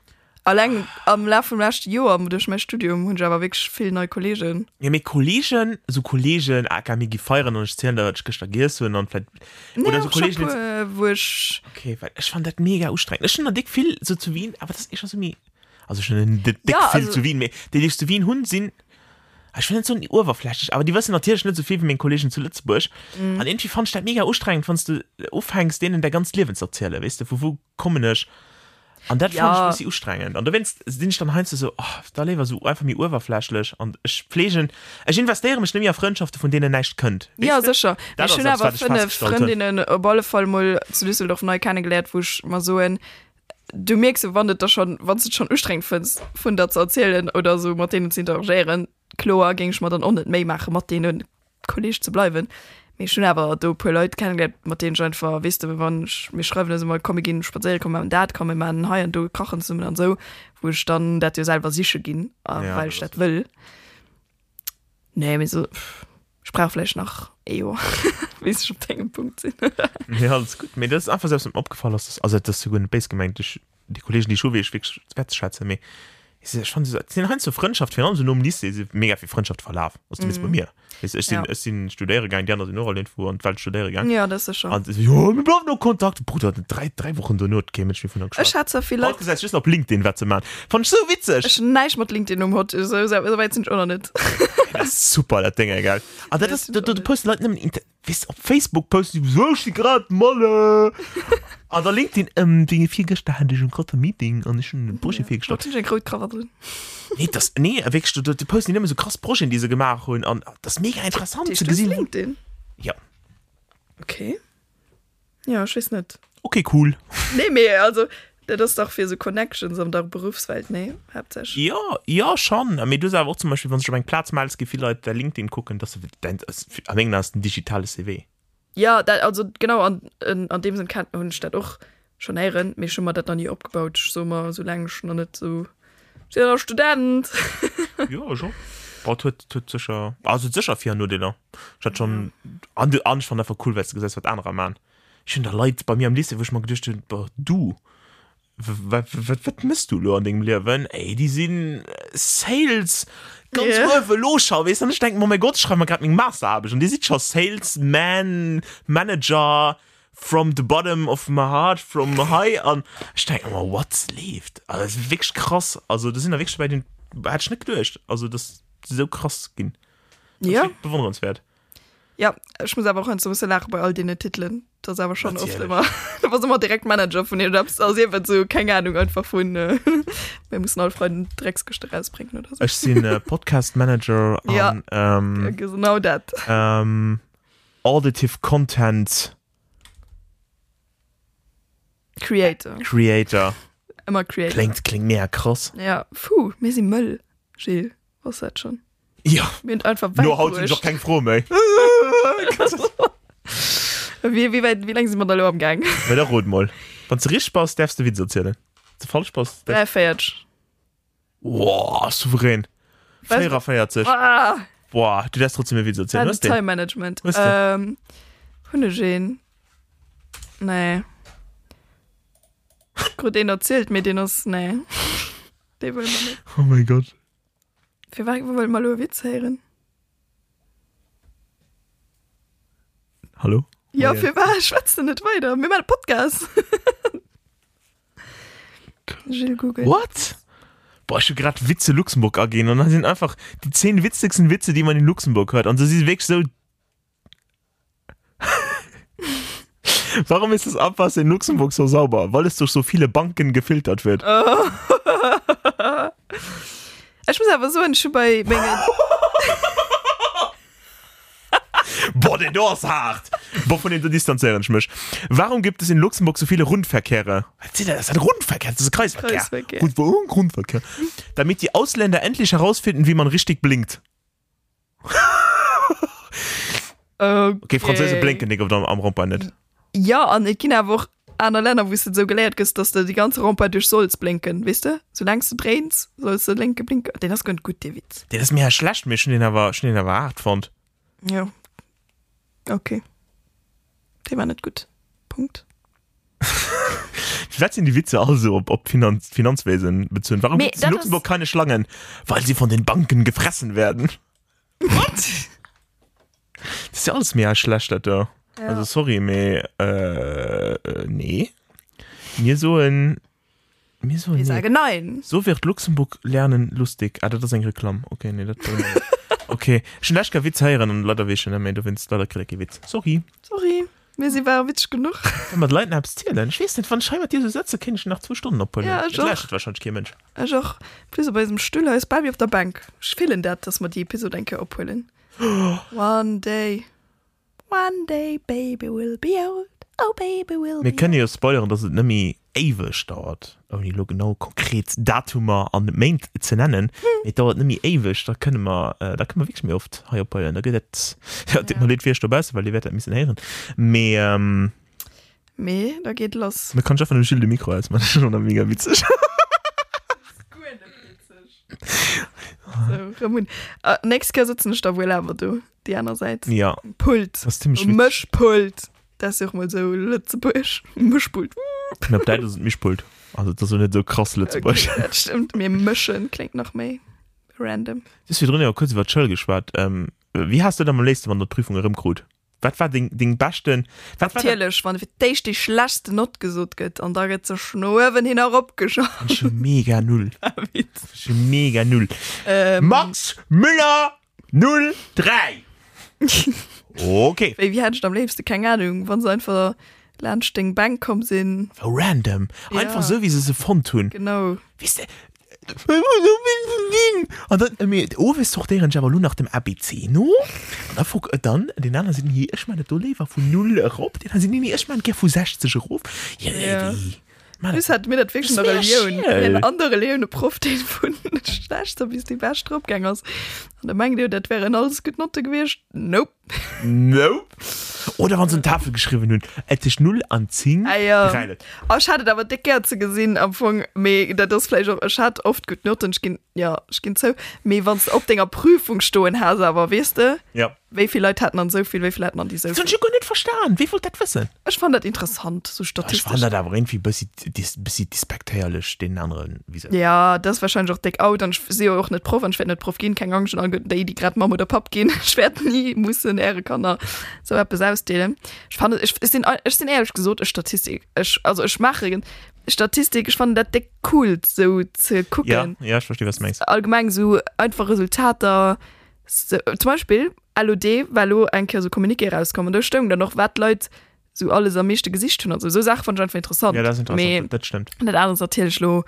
Speaker 2: Allein am Laufe vom letzten Jahr durch mein Studium und ich aber wirklich viele neue Kollegen.
Speaker 1: ja mir Kollegen so Kollegen aka mir gefeiern und ich zählen da ich gestern gehst und dann vielleicht oder so
Speaker 2: auch schon
Speaker 1: Kollegen die-
Speaker 2: paar, äh, wo ich
Speaker 1: okay weil ich fand das mega anstrengend ist schon noch dick viel so zu Wien aber das ist schon so mir also schon ein dick
Speaker 2: Ja,
Speaker 1: viel
Speaker 2: also-
Speaker 1: zu Wien mehr die die zu Wien Hund sind Ah, ich finde so ein oberflächlich aber die wissen natürlich nicht so viel wie meinen Kollegen zu Lützburg mhm. und irgendwie fand ich das mega anstrengend wenn du aufhängst denen der ganz Lebens erzähle weißt du wo, wo kommen ich und das ja. fand ich
Speaker 2: Ja.
Speaker 1: ein bisschen anstrengend und wenn sind ich dann heinst du so oh, da lebe so einfach mir oberflächlich und ich pflege ich investiere mich nämlich auf Freundschaften von denen ihr nicht könnt weißt
Speaker 2: Ja,
Speaker 1: du?
Speaker 2: sicher.
Speaker 1: Das ist
Speaker 2: Ich schon
Speaker 1: das,
Speaker 2: aber
Speaker 1: was ich
Speaker 2: finde
Speaker 1: festgestellt habe.
Speaker 2: Freundinnen äh, Bolle voll mal zu Düsseldorf neu keine gelehrt, wo ich mal so ein Du merkst, wann du das schon, wann du es schon anstrengend findest, von da zu erzählen oder so mit denen zu interagieren. Klar, ging ich mir dann auch nicht mehr machen, mit denen Kollege zu bleiben. Mir schon aber da ein paar Leute kennengelernt, mit denen ich einfach, weißt du, wenn ich mir schreibe, dass ich mal komme, gehen spazieren, komme mit dem Dad, komme mit meinem Hai und du kochen zu mir und so, wo ich dann, dass ich selber sicher gehen, äh,
Speaker 1: Ja,
Speaker 2: ja, weil ich
Speaker 1: das
Speaker 2: das will. Nee, mir so, pff, Sprachfleisch nach EO. Weißt du, schon den Punkt sind.
Speaker 1: Ja, das ist gut. Mir das ist einfach selbst im Abgefallen, dass das, also das ist sogar eine Base gemeint, die, die Kollegen, die Schule, ich wirklich wertschätze, mir ist ja schon so, sie haben so Freundschaft, wir haben so nur um Liste, sie mega viel Freundschaft verlauf. Was du bist bei mir. Ich, ich, Mhm. ja.
Speaker 2: Ja.
Speaker 1: sind, ich sind Studiere gegangen, die anderen sind auch irgendwo und weil Studiere gegangen.
Speaker 2: Ja, das ist schon.
Speaker 1: Ja. Und ich, so, ja, wir bleiben noch Kontakt. Bruder, drei, drei Wochen der Not käme ich mir von der
Speaker 2: Ich hatte so viele
Speaker 1: Leute
Speaker 2: Leute.
Speaker 1: gesagt, ich ist noch LinkedIn, was zu machen. Fand ich so witzig.
Speaker 2: Ich neige mit LinkedIn um heute, so, so, so weit sind ich auch noch nicht.
Speaker 1: Das ist super, das Ding, egal. Aber das, das, das, das, das posten Leute nicht Inter- weißt, auf Facebook posten die, so ich die gerade Molle. An der LinkedIn, ähm, wegen vier gestern hatte ich ein großes Meeting und ich schon einen Bursche viel
Speaker 2: Da
Speaker 1: gestanden.
Speaker 2: ist ein Krautkrawatt drin.
Speaker 1: Nee, das, nee, wirklich, du, du, du posten immer so krass Bursche in diese gemacht und, und das ist mega interessant zu
Speaker 2: Die ist das
Speaker 1: gesehen.
Speaker 2: LinkedIn.
Speaker 1: Ja.
Speaker 2: Okay. Ja, ich weiß nicht.
Speaker 1: Okay, cool.
Speaker 2: Nee, mehr, also, das ist doch für so Connections in der Berufswelt, nee, hauptsächlich.
Speaker 1: Ja, ja, schon. Aber du sagst auch zum Beispiel, wenn du schon meinen Platz malst, gibt viele Leute, der LinkedIn gucken, dass du, dein, das, am Ende hast du ein digitales CV.
Speaker 2: Ja, da, also, genau, an, an, an dem sind kannten und statt auch schon Ehren, mir schon mal das noch nie abgebaut, so mal, so lange schon noch nicht so. Ich bin ja noch Student.
Speaker 1: ja schon Boah, tut, tut sicher also sicher vier nur den ich hat schon an an von der verkulwest gesetzt wird anderer Mann ich finde da leid bei mir am liebsten wo ich mal gedacht hätte, boah, du was misst du lo an dem Leben ey die sind äh, Sales ganz
Speaker 2: Ja.
Speaker 1: yeah. losschau weißt du und ich denke oh mein Gott schreib mal gerade meinen Master habe ich und die sieht schon Salesman Manager from the bottom of my heart from high an ich denke oh, what's left also das ist wirklich krass also das sind ja wirklich bei den hat Schnitt durch also das ist so krass ging
Speaker 2: Ja.
Speaker 1: bewundernswert
Speaker 2: Ja, ich muss aber auch so ein bisschen lachen bei all den Titeln. Das ist aber schon Natürlich. oft
Speaker 1: Natürlich.
Speaker 2: immer. Da war immer direkt Manager von den Jobs. Also, ihr wird so, keine Ahnung, einfach von. Äh, wir müssen alle Freunde Drecksgestell rausbringen oder so.
Speaker 1: ich sind äh, Podcast Manager
Speaker 2: Ja.
Speaker 1: an, ähm,
Speaker 2: Ja, genau das.
Speaker 1: ähm, auditive content
Speaker 2: Creator.
Speaker 1: Creator
Speaker 2: Immer Creator.
Speaker 1: klingt klingt mehr krass
Speaker 2: Ja, puh, mir sind Müll. Gilles, was ist das schon?
Speaker 1: ja
Speaker 2: Wir sind einfach
Speaker 1: nur haut
Speaker 2: weich
Speaker 1: sich doch kein froh mehr
Speaker 2: Wie, wie, weit, wie lange sind wir da noch am Gang?
Speaker 1: weil der rot mal wenn du richtig passt darfst du Witze erzählen wenn du falsch passt darfst-
Speaker 2: Drei fährt.
Speaker 1: wow souverän
Speaker 2: Was-
Speaker 1: 44
Speaker 2: Ah,
Speaker 1: wow du darfst trotzdem mehr Witze erzählen
Speaker 2: das
Speaker 1: was denn
Speaker 2: Time Management.
Speaker 1: Was
Speaker 2: Ähm, Hunde gehen. Nee. Gut, den erzählt mir, den ist, nee. Den wollen wir nicht.
Speaker 1: oh mein Gott
Speaker 2: Wir wollen wir wollen mal über Witz hören.
Speaker 1: hallo
Speaker 2: Ja,
Speaker 1: Oh ja.
Speaker 2: für was? Schwätzt du nicht weiter? Mir mal einen Podcast. Gilles Google.
Speaker 1: What? Boah, ich hab grad Witze Luxemburg angehen und dann sind einfach die zehn witzigsten Witze, die man in Luxemburg hört. Und das ist wirklich so. Warum ist das Abwasser in Luxemburg so sauber? Weil es durch so viele Banken gefiltert wird.
Speaker 2: Ich muss aber so ein Schuh bei Menge.
Speaker 1: Boah, der Dorf ist hart! Boah, von dem du distanzieren schmisch. Warum gibt es in Luxemburg so viele Rundverkehre? Was ist das? Das ist ein Rundverkehr, das ist ein Kreisverkehr.
Speaker 2: Kreisverkehr.
Speaker 1: Rund- oh, Grundverkehr. Damit die Ausländer endlich herausfinden, wie man richtig blinkt.
Speaker 2: Okay,
Speaker 1: Okay, Französische blinken nicht auf dem, am Rampen nicht.
Speaker 2: Ähm, Ja, an ich kenne einfach andere Länder, wo es so gelehrt ist, dass du die ganze Rampe durch sollst blinken, weißt du? Solange du drehst, sollst du linke blinken. Den hast du ganz gut, der Witz.
Speaker 1: Der ist mir ja schlecht, mir schon den aber, schon den aber hart fand.
Speaker 2: Ja. Okay. Der war nicht gut. Punkt.
Speaker 1: Was sind die Witze also, ob, ob Finanz, Finanzwesen bezogen? Warum
Speaker 2: Me-
Speaker 1: gibt es in
Speaker 2: das
Speaker 1: Luxemburg
Speaker 2: ist-
Speaker 1: keine Schlangen? Weil sie von den Banken gefressen werden.
Speaker 2: What?
Speaker 1: Das ist ja alles mehr schlecht, da. Ja. Also, sorry, me, äh, äh, nee. Mir so ein, mir so ein,
Speaker 2: Ich
Speaker 1: nee.
Speaker 2: sage nein.
Speaker 1: So wird Luxemburg lernen lustig. Ah, das ist ein Reklam. Okay, nee, das Okay, schon leicht kein Witz heiren und leider wischen, am Ende, wenn es leider kein Witz. Sorry.
Speaker 2: Sorry. Mir sie war witzig genug.
Speaker 1: Wenn man Leuten abstieren, ich weiß nicht, wann scheinbar diese Sätze kenne ich nach zwei Stunden abholen.
Speaker 2: Ja,
Speaker 1: das
Speaker 2: doch.
Speaker 1: lässt wahrscheinlich kein Mensch.
Speaker 2: Also auch, plus bei diesem Stühler ist Barbie auf der Bank. Ich will in der, dass wir die Episode denke abholen. One day. One day, baby will be old. Oh, baby will
Speaker 1: Wir
Speaker 2: be
Speaker 1: können ja spoilern, dass es nämlich ewig dauert, um die genau konkret Datumer an um Main zu nennen.
Speaker 2: Hm.
Speaker 1: Es dauert nämlich ewig, da können wir, äh, da können wir wirklich mehr oft heuer spoilern. Da geht es, ja, das
Speaker 2: Ja.
Speaker 1: man nicht viel dabei ist, weil die werden ein bisschen hören. Mehr, ähm,
Speaker 2: Me, da geht los.
Speaker 1: man kann schon von dem Schild im Mikro als man ist schon mega witzig.
Speaker 2: So, Ramon. Äh, nächstes Jahr sitzen ich da wohl aber du. Die andere Seite.
Speaker 1: ja,
Speaker 2: Pult.
Speaker 1: das ist ziemlich witzig.
Speaker 2: Mischpult. Das ist ja auch mal so Lützebüsch. Mischpult.
Speaker 1: Ich glaube, da ist mich schuld. Also, das ist nicht so krass, letzte Beispiel.
Speaker 2: Okay, das stimmt. Mir mischen klingt noch mehr random.
Speaker 1: Das wir drin ja kurz über Chill gespart. Ähm, wie hast du denn am letzten Mal in der Prüfung rumgeholt? Was war den, den Basten? Was war der
Speaker 2: Natürlich, wenn für dich die schlechteste Not gesucht geht und da geht es schnur, wenn hin auch abgeschaut
Speaker 1: schon mega null.
Speaker 2: wird.
Speaker 1: Schon mega null.
Speaker 2: Ähm,
Speaker 1: Max Müller 03. Okay.
Speaker 2: weil wie hatte ich am liebsten? Keine Ahnung. Wenn sie einfach Lunch den Bank kommen sind.
Speaker 1: Random. Einfach
Speaker 2: Ja.
Speaker 1: so, wie sie es von tun.
Speaker 2: Genau.
Speaker 1: Wisst ihr? Und dann, äh, mir- oh, wisst doch deren Javalu nach dem ABC, no? Und dann, frag, äh, dann, den anderen sind hier, ich meine, Dollar war von 0 Euro, den anderen sind hier, ich meine, von 60 Euro. Ja,
Speaker 2: Ja.
Speaker 1: ja. Ey, Mann,
Speaker 2: Das hat mir das
Speaker 1: Das
Speaker 2: wirklich noch
Speaker 1: wär
Speaker 2: Leon.
Speaker 1: schön.
Speaker 2: Ein andere Leon, Prof, den von schlecht, so bis die beste Abgänger ist. Und dann meinte ich, das wäre ein alles gut Note gewesen. Nope.
Speaker 1: Nope. Oder wenn sie eine Tafel geschrieben haben, hätte ich 0 an 10.
Speaker 2: Ah, ja.
Speaker 1: Dreilet.
Speaker 2: Oh, ich hatte aber die Kerze gesehen am Anfang. Me, das ist vielleicht auch, ich hatte oft gut Noten. Ich ging, ja, ich ging so. Me, wenn es auf der Prüfung stehen hast, aber weißt du,
Speaker 1: ja.
Speaker 2: wie viele Leute hatten dann so viel, wie viele hatten dann die so
Speaker 1: Das
Speaker 2: viel.
Speaker 1: habe ich gar nicht verstanden. Wie viel das wissen?
Speaker 2: Ich fand das interessant, so
Speaker 1: Ich
Speaker 2: statistisch.
Speaker 1: fand das aber irgendwie ein bisschen, dis- bisschen dispektierlich den anderen. Wie ja.
Speaker 2: Ja, das ist wahrscheinlich auch dick out. Und ich sehe auch nicht Prof, und ich werde nicht Prof gehen, keine Angst. Und dann die, die gerade Mama oder Pop gehen, ich werde nie, muss in Ehre kann da so etwas ausdehnen. Ich fand, ich, ich, bin, ich bin ehrlich gesagt, ich Statistik, ich, also ich mache Statistik, ich fand das dick cool, so zu gucken
Speaker 1: Ja, ja, ich verstehe, was du meinst.
Speaker 2: allgemein so einfach Resultate so, zum Beispiel LOD weil ein so Kommuniqué rauskommen da stimmt dann noch wat Leute so alles am mechte Gesicht tun also so Sachen von schon interessant
Speaker 1: Ja, das ist interessant.
Speaker 2: Me,
Speaker 1: Das stimmt.
Speaker 2: nicht anders natürlich lo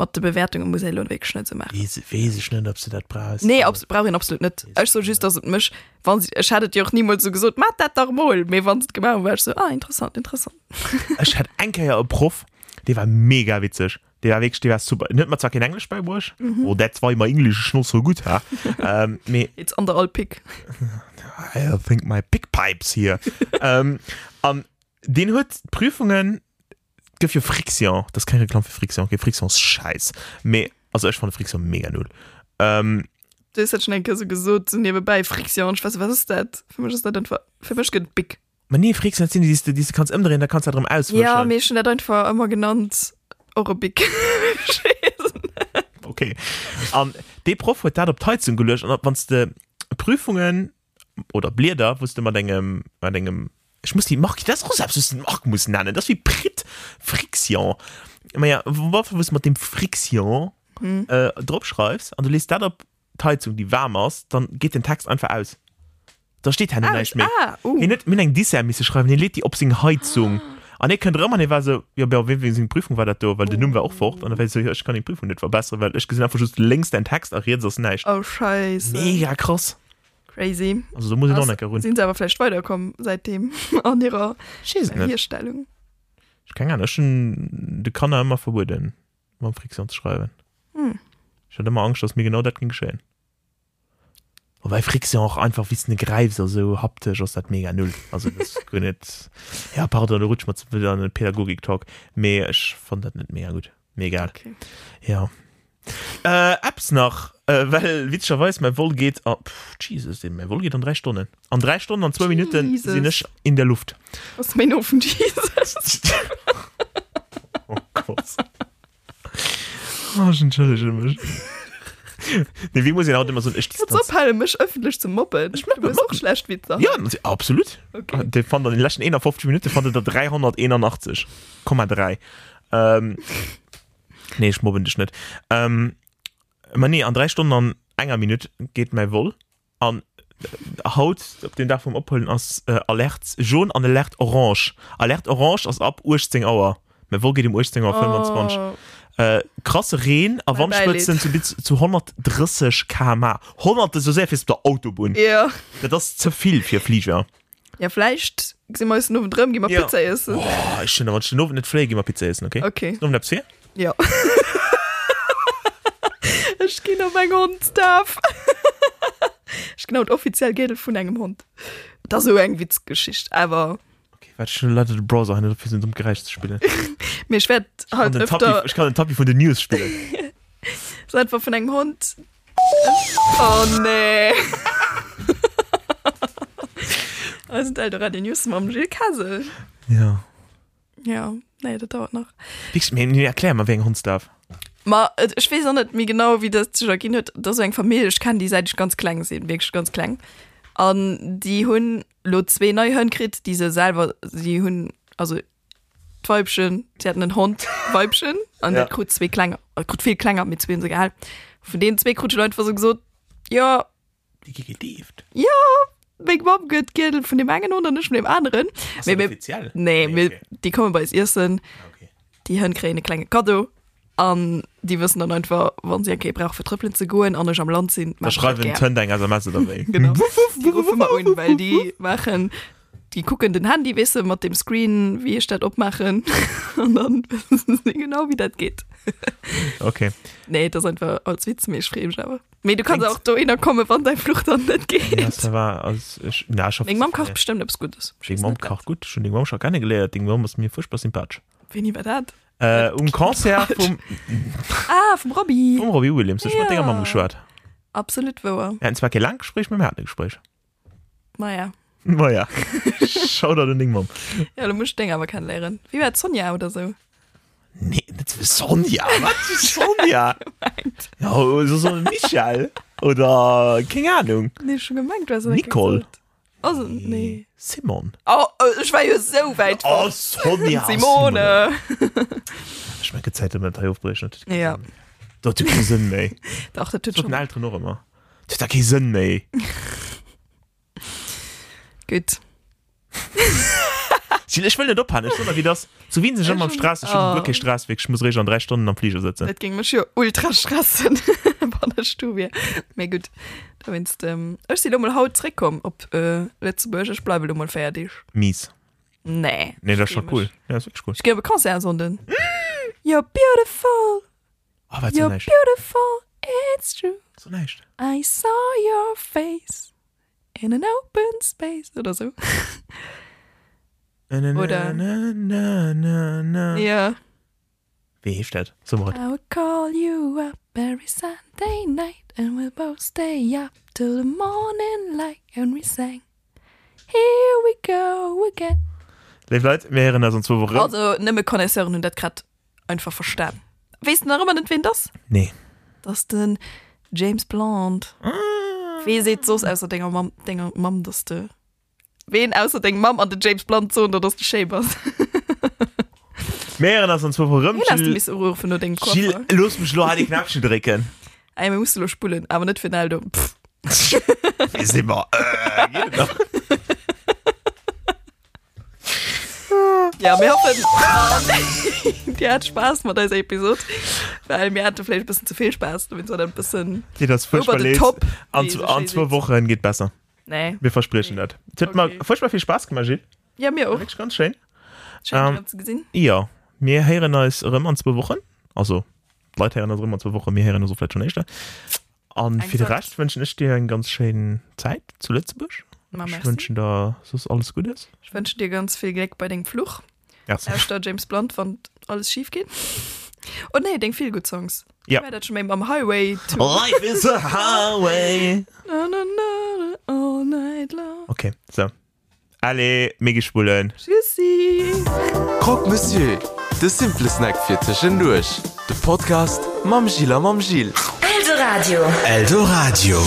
Speaker 2: mit den Bewertungen muss ich wegschnitt zu machen
Speaker 1: wesig nicht ob du das brauchst
Speaker 2: nee abs brauch ihn absolut net Ech so just dass mech wann sie schadet dir auch niemals so gesot mat dat doch wohl mir wann gemacht war so ah, interessant interessant
Speaker 1: ich hatte ein ja Prof die war mega witzig der war wirklich die war super nicht mal zwar kein Englisch bei Bursch mhm. oh der war immer Englisch ist noch so gut ha ähm, me,
Speaker 2: jetzt ander all pick
Speaker 1: I think my pickpipes hier ähm, um, den hört Prüfungen gibt für Friction das ist keine Reklam für Friction okay, Friction ist scheiß me, also ich fand Friction mega null ähm,
Speaker 2: du ist schnecke so gesot zu nebenbei friktion ich weiß was ist dat für mich ist dat einfach für mich geht big
Speaker 1: man nee Friction sind die die, die du kannst ändern da kannst du drum aus
Speaker 2: ja mir ist schon dat einfach immer genannt eure big
Speaker 1: okay um, de Prof huet dat op Teizung gelöscht an wann de Prüfungen oder Blider wusste man engem an engem ich muss die mach ich das raus mach muss nennen das wie Brit Friction ja wofür muss man dem Friction hm. äh, drop schreibst an du liest dat op Teizung die warmers dann geht den Text einfach aus da steht hin
Speaker 2: Ah, ah, uh.
Speaker 1: min eng dis miss schreiben den lädt die op sing Heizung an ich kann man war so ja bei wegen Prüfung war dat do weil der Nummer war auch fort und dann so, ja, ich kann die Prüfung nicht verbessern weil ich gesehen habe just längst dein Text auch jetzt das nicht
Speaker 2: oh scheiße
Speaker 1: mega krass
Speaker 2: crazy
Speaker 1: also so muss ich noch
Speaker 2: Was?
Speaker 1: nicht runter
Speaker 2: sind sie aber vielleicht weiterkommen seitdem an ihrer
Speaker 1: Schieß nicht.
Speaker 2: Herstellung
Speaker 1: ich kann gar nicht schon du kann er immer verboten man Friktion zu schreiben
Speaker 2: Hm.
Speaker 1: ich hatte immer Angst dass mir genau das ging geschehen Und weil Friktion auch einfach wie eine Greif also haptisch ist das mega null also das kann nicht ja pardon du rutscht mal zu- wieder einen Pädagogik Talk mehr ich fand das nicht mega gut mega okay.
Speaker 2: okay.
Speaker 1: ja äh, Apps nach äh, weil witscherweis mein wohl geht ab Jesus den mein wohl geht an drei Stunden an drei Stunden an zwei Minuten
Speaker 2: Jesus.
Speaker 1: sind ich in der Luft
Speaker 2: was mein ofen Jesus
Speaker 1: oh Gott oh, schon entschuldige mich. nee, wie muss ich heute immer so ein ich
Speaker 2: so peile mich öffentlich zu moppeln ich
Speaker 1: mag-
Speaker 2: bin auch schlecht wieder
Speaker 1: Ah, ja nat- absolut okay. der fand er in den letzten 51 Minuten fand er der 381,3 ähm, nee ich mobben dich nicht ähm, man nee an drei Stunden an enger Minute geht mein wohl an äh, haut op den Dach vom opholen als äh, alert schon an alert orange alert orange als ab Urzing Auer wo geht dem Urzing auf 25
Speaker 2: oh,
Speaker 1: äh, krasse Reen a
Speaker 2: Mein
Speaker 1: Wandspitzen zu, zu 130 km 100 ist so sehr ist der Autobahn
Speaker 2: ja
Speaker 1: Ja, das ist zu viel für Flieger
Speaker 2: ja vielleicht sind wir uns nur drin gehen wir
Speaker 1: Ja.
Speaker 2: Pizza essen
Speaker 1: oh, ich finde, wenn ich den Ofen nicht pflege, immer Pizza essen okay,
Speaker 2: okay
Speaker 1: Nur um das hier?
Speaker 2: ja ich gehe noch mein Hund darf ich genau und offiziell geht von einem Hund das ist so eine Witzgeschichte aber
Speaker 1: okay warte, schon Leute den Browser hin dafür sind um gereicht zu spielen ich
Speaker 2: mir schwer
Speaker 1: kann,
Speaker 2: halt
Speaker 1: den Tapi,
Speaker 2: öfter
Speaker 1: ich kann den Tapi von den News spielen
Speaker 2: so einfach von einem Hund oh nee Wir sind halt gerade die News vom Gilles Kassel
Speaker 1: ja
Speaker 2: ja nee das dauert noch
Speaker 1: ich, mir, mir erklär mal wegen Hund darf
Speaker 2: Ma, äh, ich weiß auch nicht mir genau wie das zu Jacqueline hat das ist eine Familie ich kann die seit ich ganz klein sehen wirklich ganz klein an die hun lo zwei neue Hönkrit diese selber die hun also die Weibchen sie hatten einen Hund Weibchen und
Speaker 1: Ja.
Speaker 2: ja. gut zwei kleiner äh, gut viel kleiner mit zwei und so gehalten von den zwei gute Leute versuchen so ja
Speaker 1: die gegedieft
Speaker 2: Big Bob geht Geld von dem einen und nicht von dem anderen
Speaker 1: so,
Speaker 2: mir, mir,
Speaker 1: offiziell?
Speaker 2: nee,
Speaker 1: Nee,
Speaker 2: nee okay.
Speaker 1: okay.
Speaker 2: die kommen bei ersten
Speaker 1: okay.
Speaker 2: die hun kre eine kleine Kado an die wissen dann einfach wann sie okay braucht für Tripppeln zu go anders am Land sind
Speaker 1: da schreibt den Töndang also machst du eh. dabei
Speaker 2: Genau. die rufen mal un, weil die machen die gucken den Handy wissen mit dem Screen wie ihr statt abmachen und dann wissen sie genau wie das geht
Speaker 1: okay
Speaker 2: nee das ist einfach als Witz mir schreiben aber nee, du kannst
Speaker 1: Klingt-
Speaker 2: auch da kommen wann dein Flucht dann nicht
Speaker 1: ja,
Speaker 2: geht
Speaker 1: das war aus ich, na, ich hoffe,
Speaker 2: Wegen Mom kocht bestimmt ob's gut ist
Speaker 1: Wegen Mom kocht gut schon den Mom schon gerne gelehrt den Mom ist mir furchtbar sympathisch
Speaker 2: wenn ich dat
Speaker 1: äh, um Konzer vom
Speaker 2: ah vom Robby
Speaker 1: um Robbie Williams ich ja. mit
Speaker 2: Ja.
Speaker 1: der Mom geschwört
Speaker 2: absolut wo
Speaker 1: ja, und zwar kein Langgespräch mit dem Härtegespräch
Speaker 2: naja
Speaker 1: naja schau da den Ding um. Mom
Speaker 2: ja du musst denken aber kann lehren wie war Sonja oder so
Speaker 1: Nee, das ist Sonja. Was ist Sonja? ja, so, so ein Michael. Oder, keine Ahnung,
Speaker 2: Nee, schon gemeint was
Speaker 1: Nicole.
Speaker 2: also, nee.
Speaker 1: Simon.
Speaker 2: oh, oh, ich war ja so weit
Speaker 1: Oh,
Speaker 2: weg.
Speaker 1: Sonja.
Speaker 2: Simone
Speaker 1: Simone. Ich merke Zeit, um wenn man da aufbrechen.
Speaker 2: ja
Speaker 1: Da tut keinen Sinn mehr.
Speaker 2: doch der tut
Speaker 1: Das hat ein
Speaker 2: schon
Speaker 1: Alter noch immer. Das hat keinen Sinn mehr.
Speaker 2: gut
Speaker 1: Sie- ich will nicht abhauen, ich sondern wie das zu wien sind schon mal am Straße schon
Speaker 2: Oh.
Speaker 1: wirklich Straßweg ich muss richtig an drei Stunden am Flieger sitzen
Speaker 2: Das ging mir schon ultrastrassen von der Studie. Mir gut. Da wennst, ähm, ich sehe mal haut zurückkommen, ob, äh, letzte Börse, ich bleibe mal fertig.
Speaker 1: mies
Speaker 2: Nee.
Speaker 1: nee das ist schon cool ja das ist wirklich cool
Speaker 2: Ich gebe Konzertsonden. You're beautiful,
Speaker 1: Oh, aber so
Speaker 2: you're
Speaker 1: nicht
Speaker 2: beautiful, it's true.
Speaker 1: so nicht
Speaker 2: I saw your face in an open space oder so.
Speaker 1: Na, na, na,
Speaker 2: Oder-
Speaker 1: na, na, na, na.
Speaker 2: Ja.
Speaker 1: wie hilft das so mal
Speaker 2: I will call you up every Sunday night and we'll both stay up till the morning light and we sang. Here we go again.
Speaker 1: liebe Leute wir hören das in zwei Wochen
Speaker 2: Also, nimm Konnoisseuren und das grad einfach verstanden. Weißt du noch immer nicht, wen das?
Speaker 1: nee
Speaker 2: Das ist denn James Blunt. Wie sieht so aus, außer deiner Mom, deiner Mom, dass du. Wen außer deiner Mom an den James Blunt so, oder dass du Schäbers?
Speaker 1: wir hören das in zwei Wochen
Speaker 2: Wie lässt du
Speaker 1: Chill-
Speaker 2: mich so ruhig, wenn du den Kopf
Speaker 1: Chill los mich nur an die Knöpfchen drücken
Speaker 2: Einmal musst du nur spulen, aber nicht für Naldo. Pff.
Speaker 1: ist immer äh, geht noch.
Speaker 2: Ja, wir hoffen, dir hat Spaß mit dieser Episode. Vor allem, mir hatte vielleicht ein bisschen zu viel Spaß, damit es dann ein bisschen.
Speaker 1: Nee, das ist furchtbar
Speaker 2: Over the
Speaker 1: lesen.
Speaker 2: top.
Speaker 1: an
Speaker 2: Nee,
Speaker 1: zw-
Speaker 2: so
Speaker 1: an
Speaker 2: scheiße.
Speaker 1: zwei Wochen geht besser
Speaker 2: Nee.
Speaker 1: wir versprechen das es hat mal
Speaker 2: Okay.
Speaker 1: furchtbar viel Spaß gemacht Gilles.
Speaker 2: Ja, mir auch.
Speaker 1: wirklich ganz schön
Speaker 2: Schön,
Speaker 1: Ähm,
Speaker 2: um, gesehen.
Speaker 1: Ja, wir hören uns immer in zwei Wochen. Also, die Leute hören uns immer in zwei Wochen, wir hören uns vielleicht schon nächste. Und für den
Speaker 2: Exakt.
Speaker 1: Rest wünsche ich dir eine ganz schöne Zeit zu Lützburg.
Speaker 2: Ma,
Speaker 1: Ich
Speaker 2: merci.
Speaker 1: wünsche dir, dass alles gut ist.
Speaker 2: Ich wünsche dir ganz viel Glück bei dem Fluch.
Speaker 1: Ja,
Speaker 2: Erst der James Blunt, wenn alles schief geht. Und nee, denk viel gut Songs.
Speaker 1: Ja.
Speaker 2: Ich werde schon mal am Highway. to-
Speaker 1: Life is a highway.
Speaker 2: Na, na, na, na, all night long.
Speaker 1: Okay, so. Alle, mega spulen.
Speaker 2: Tschüssi.
Speaker 3: Croque Monsieur, de simple Snack fir Tischendurch. De Podcast Mam Gila Mam Gil.
Speaker 4: Eldoradio.
Speaker 5: Eldorado.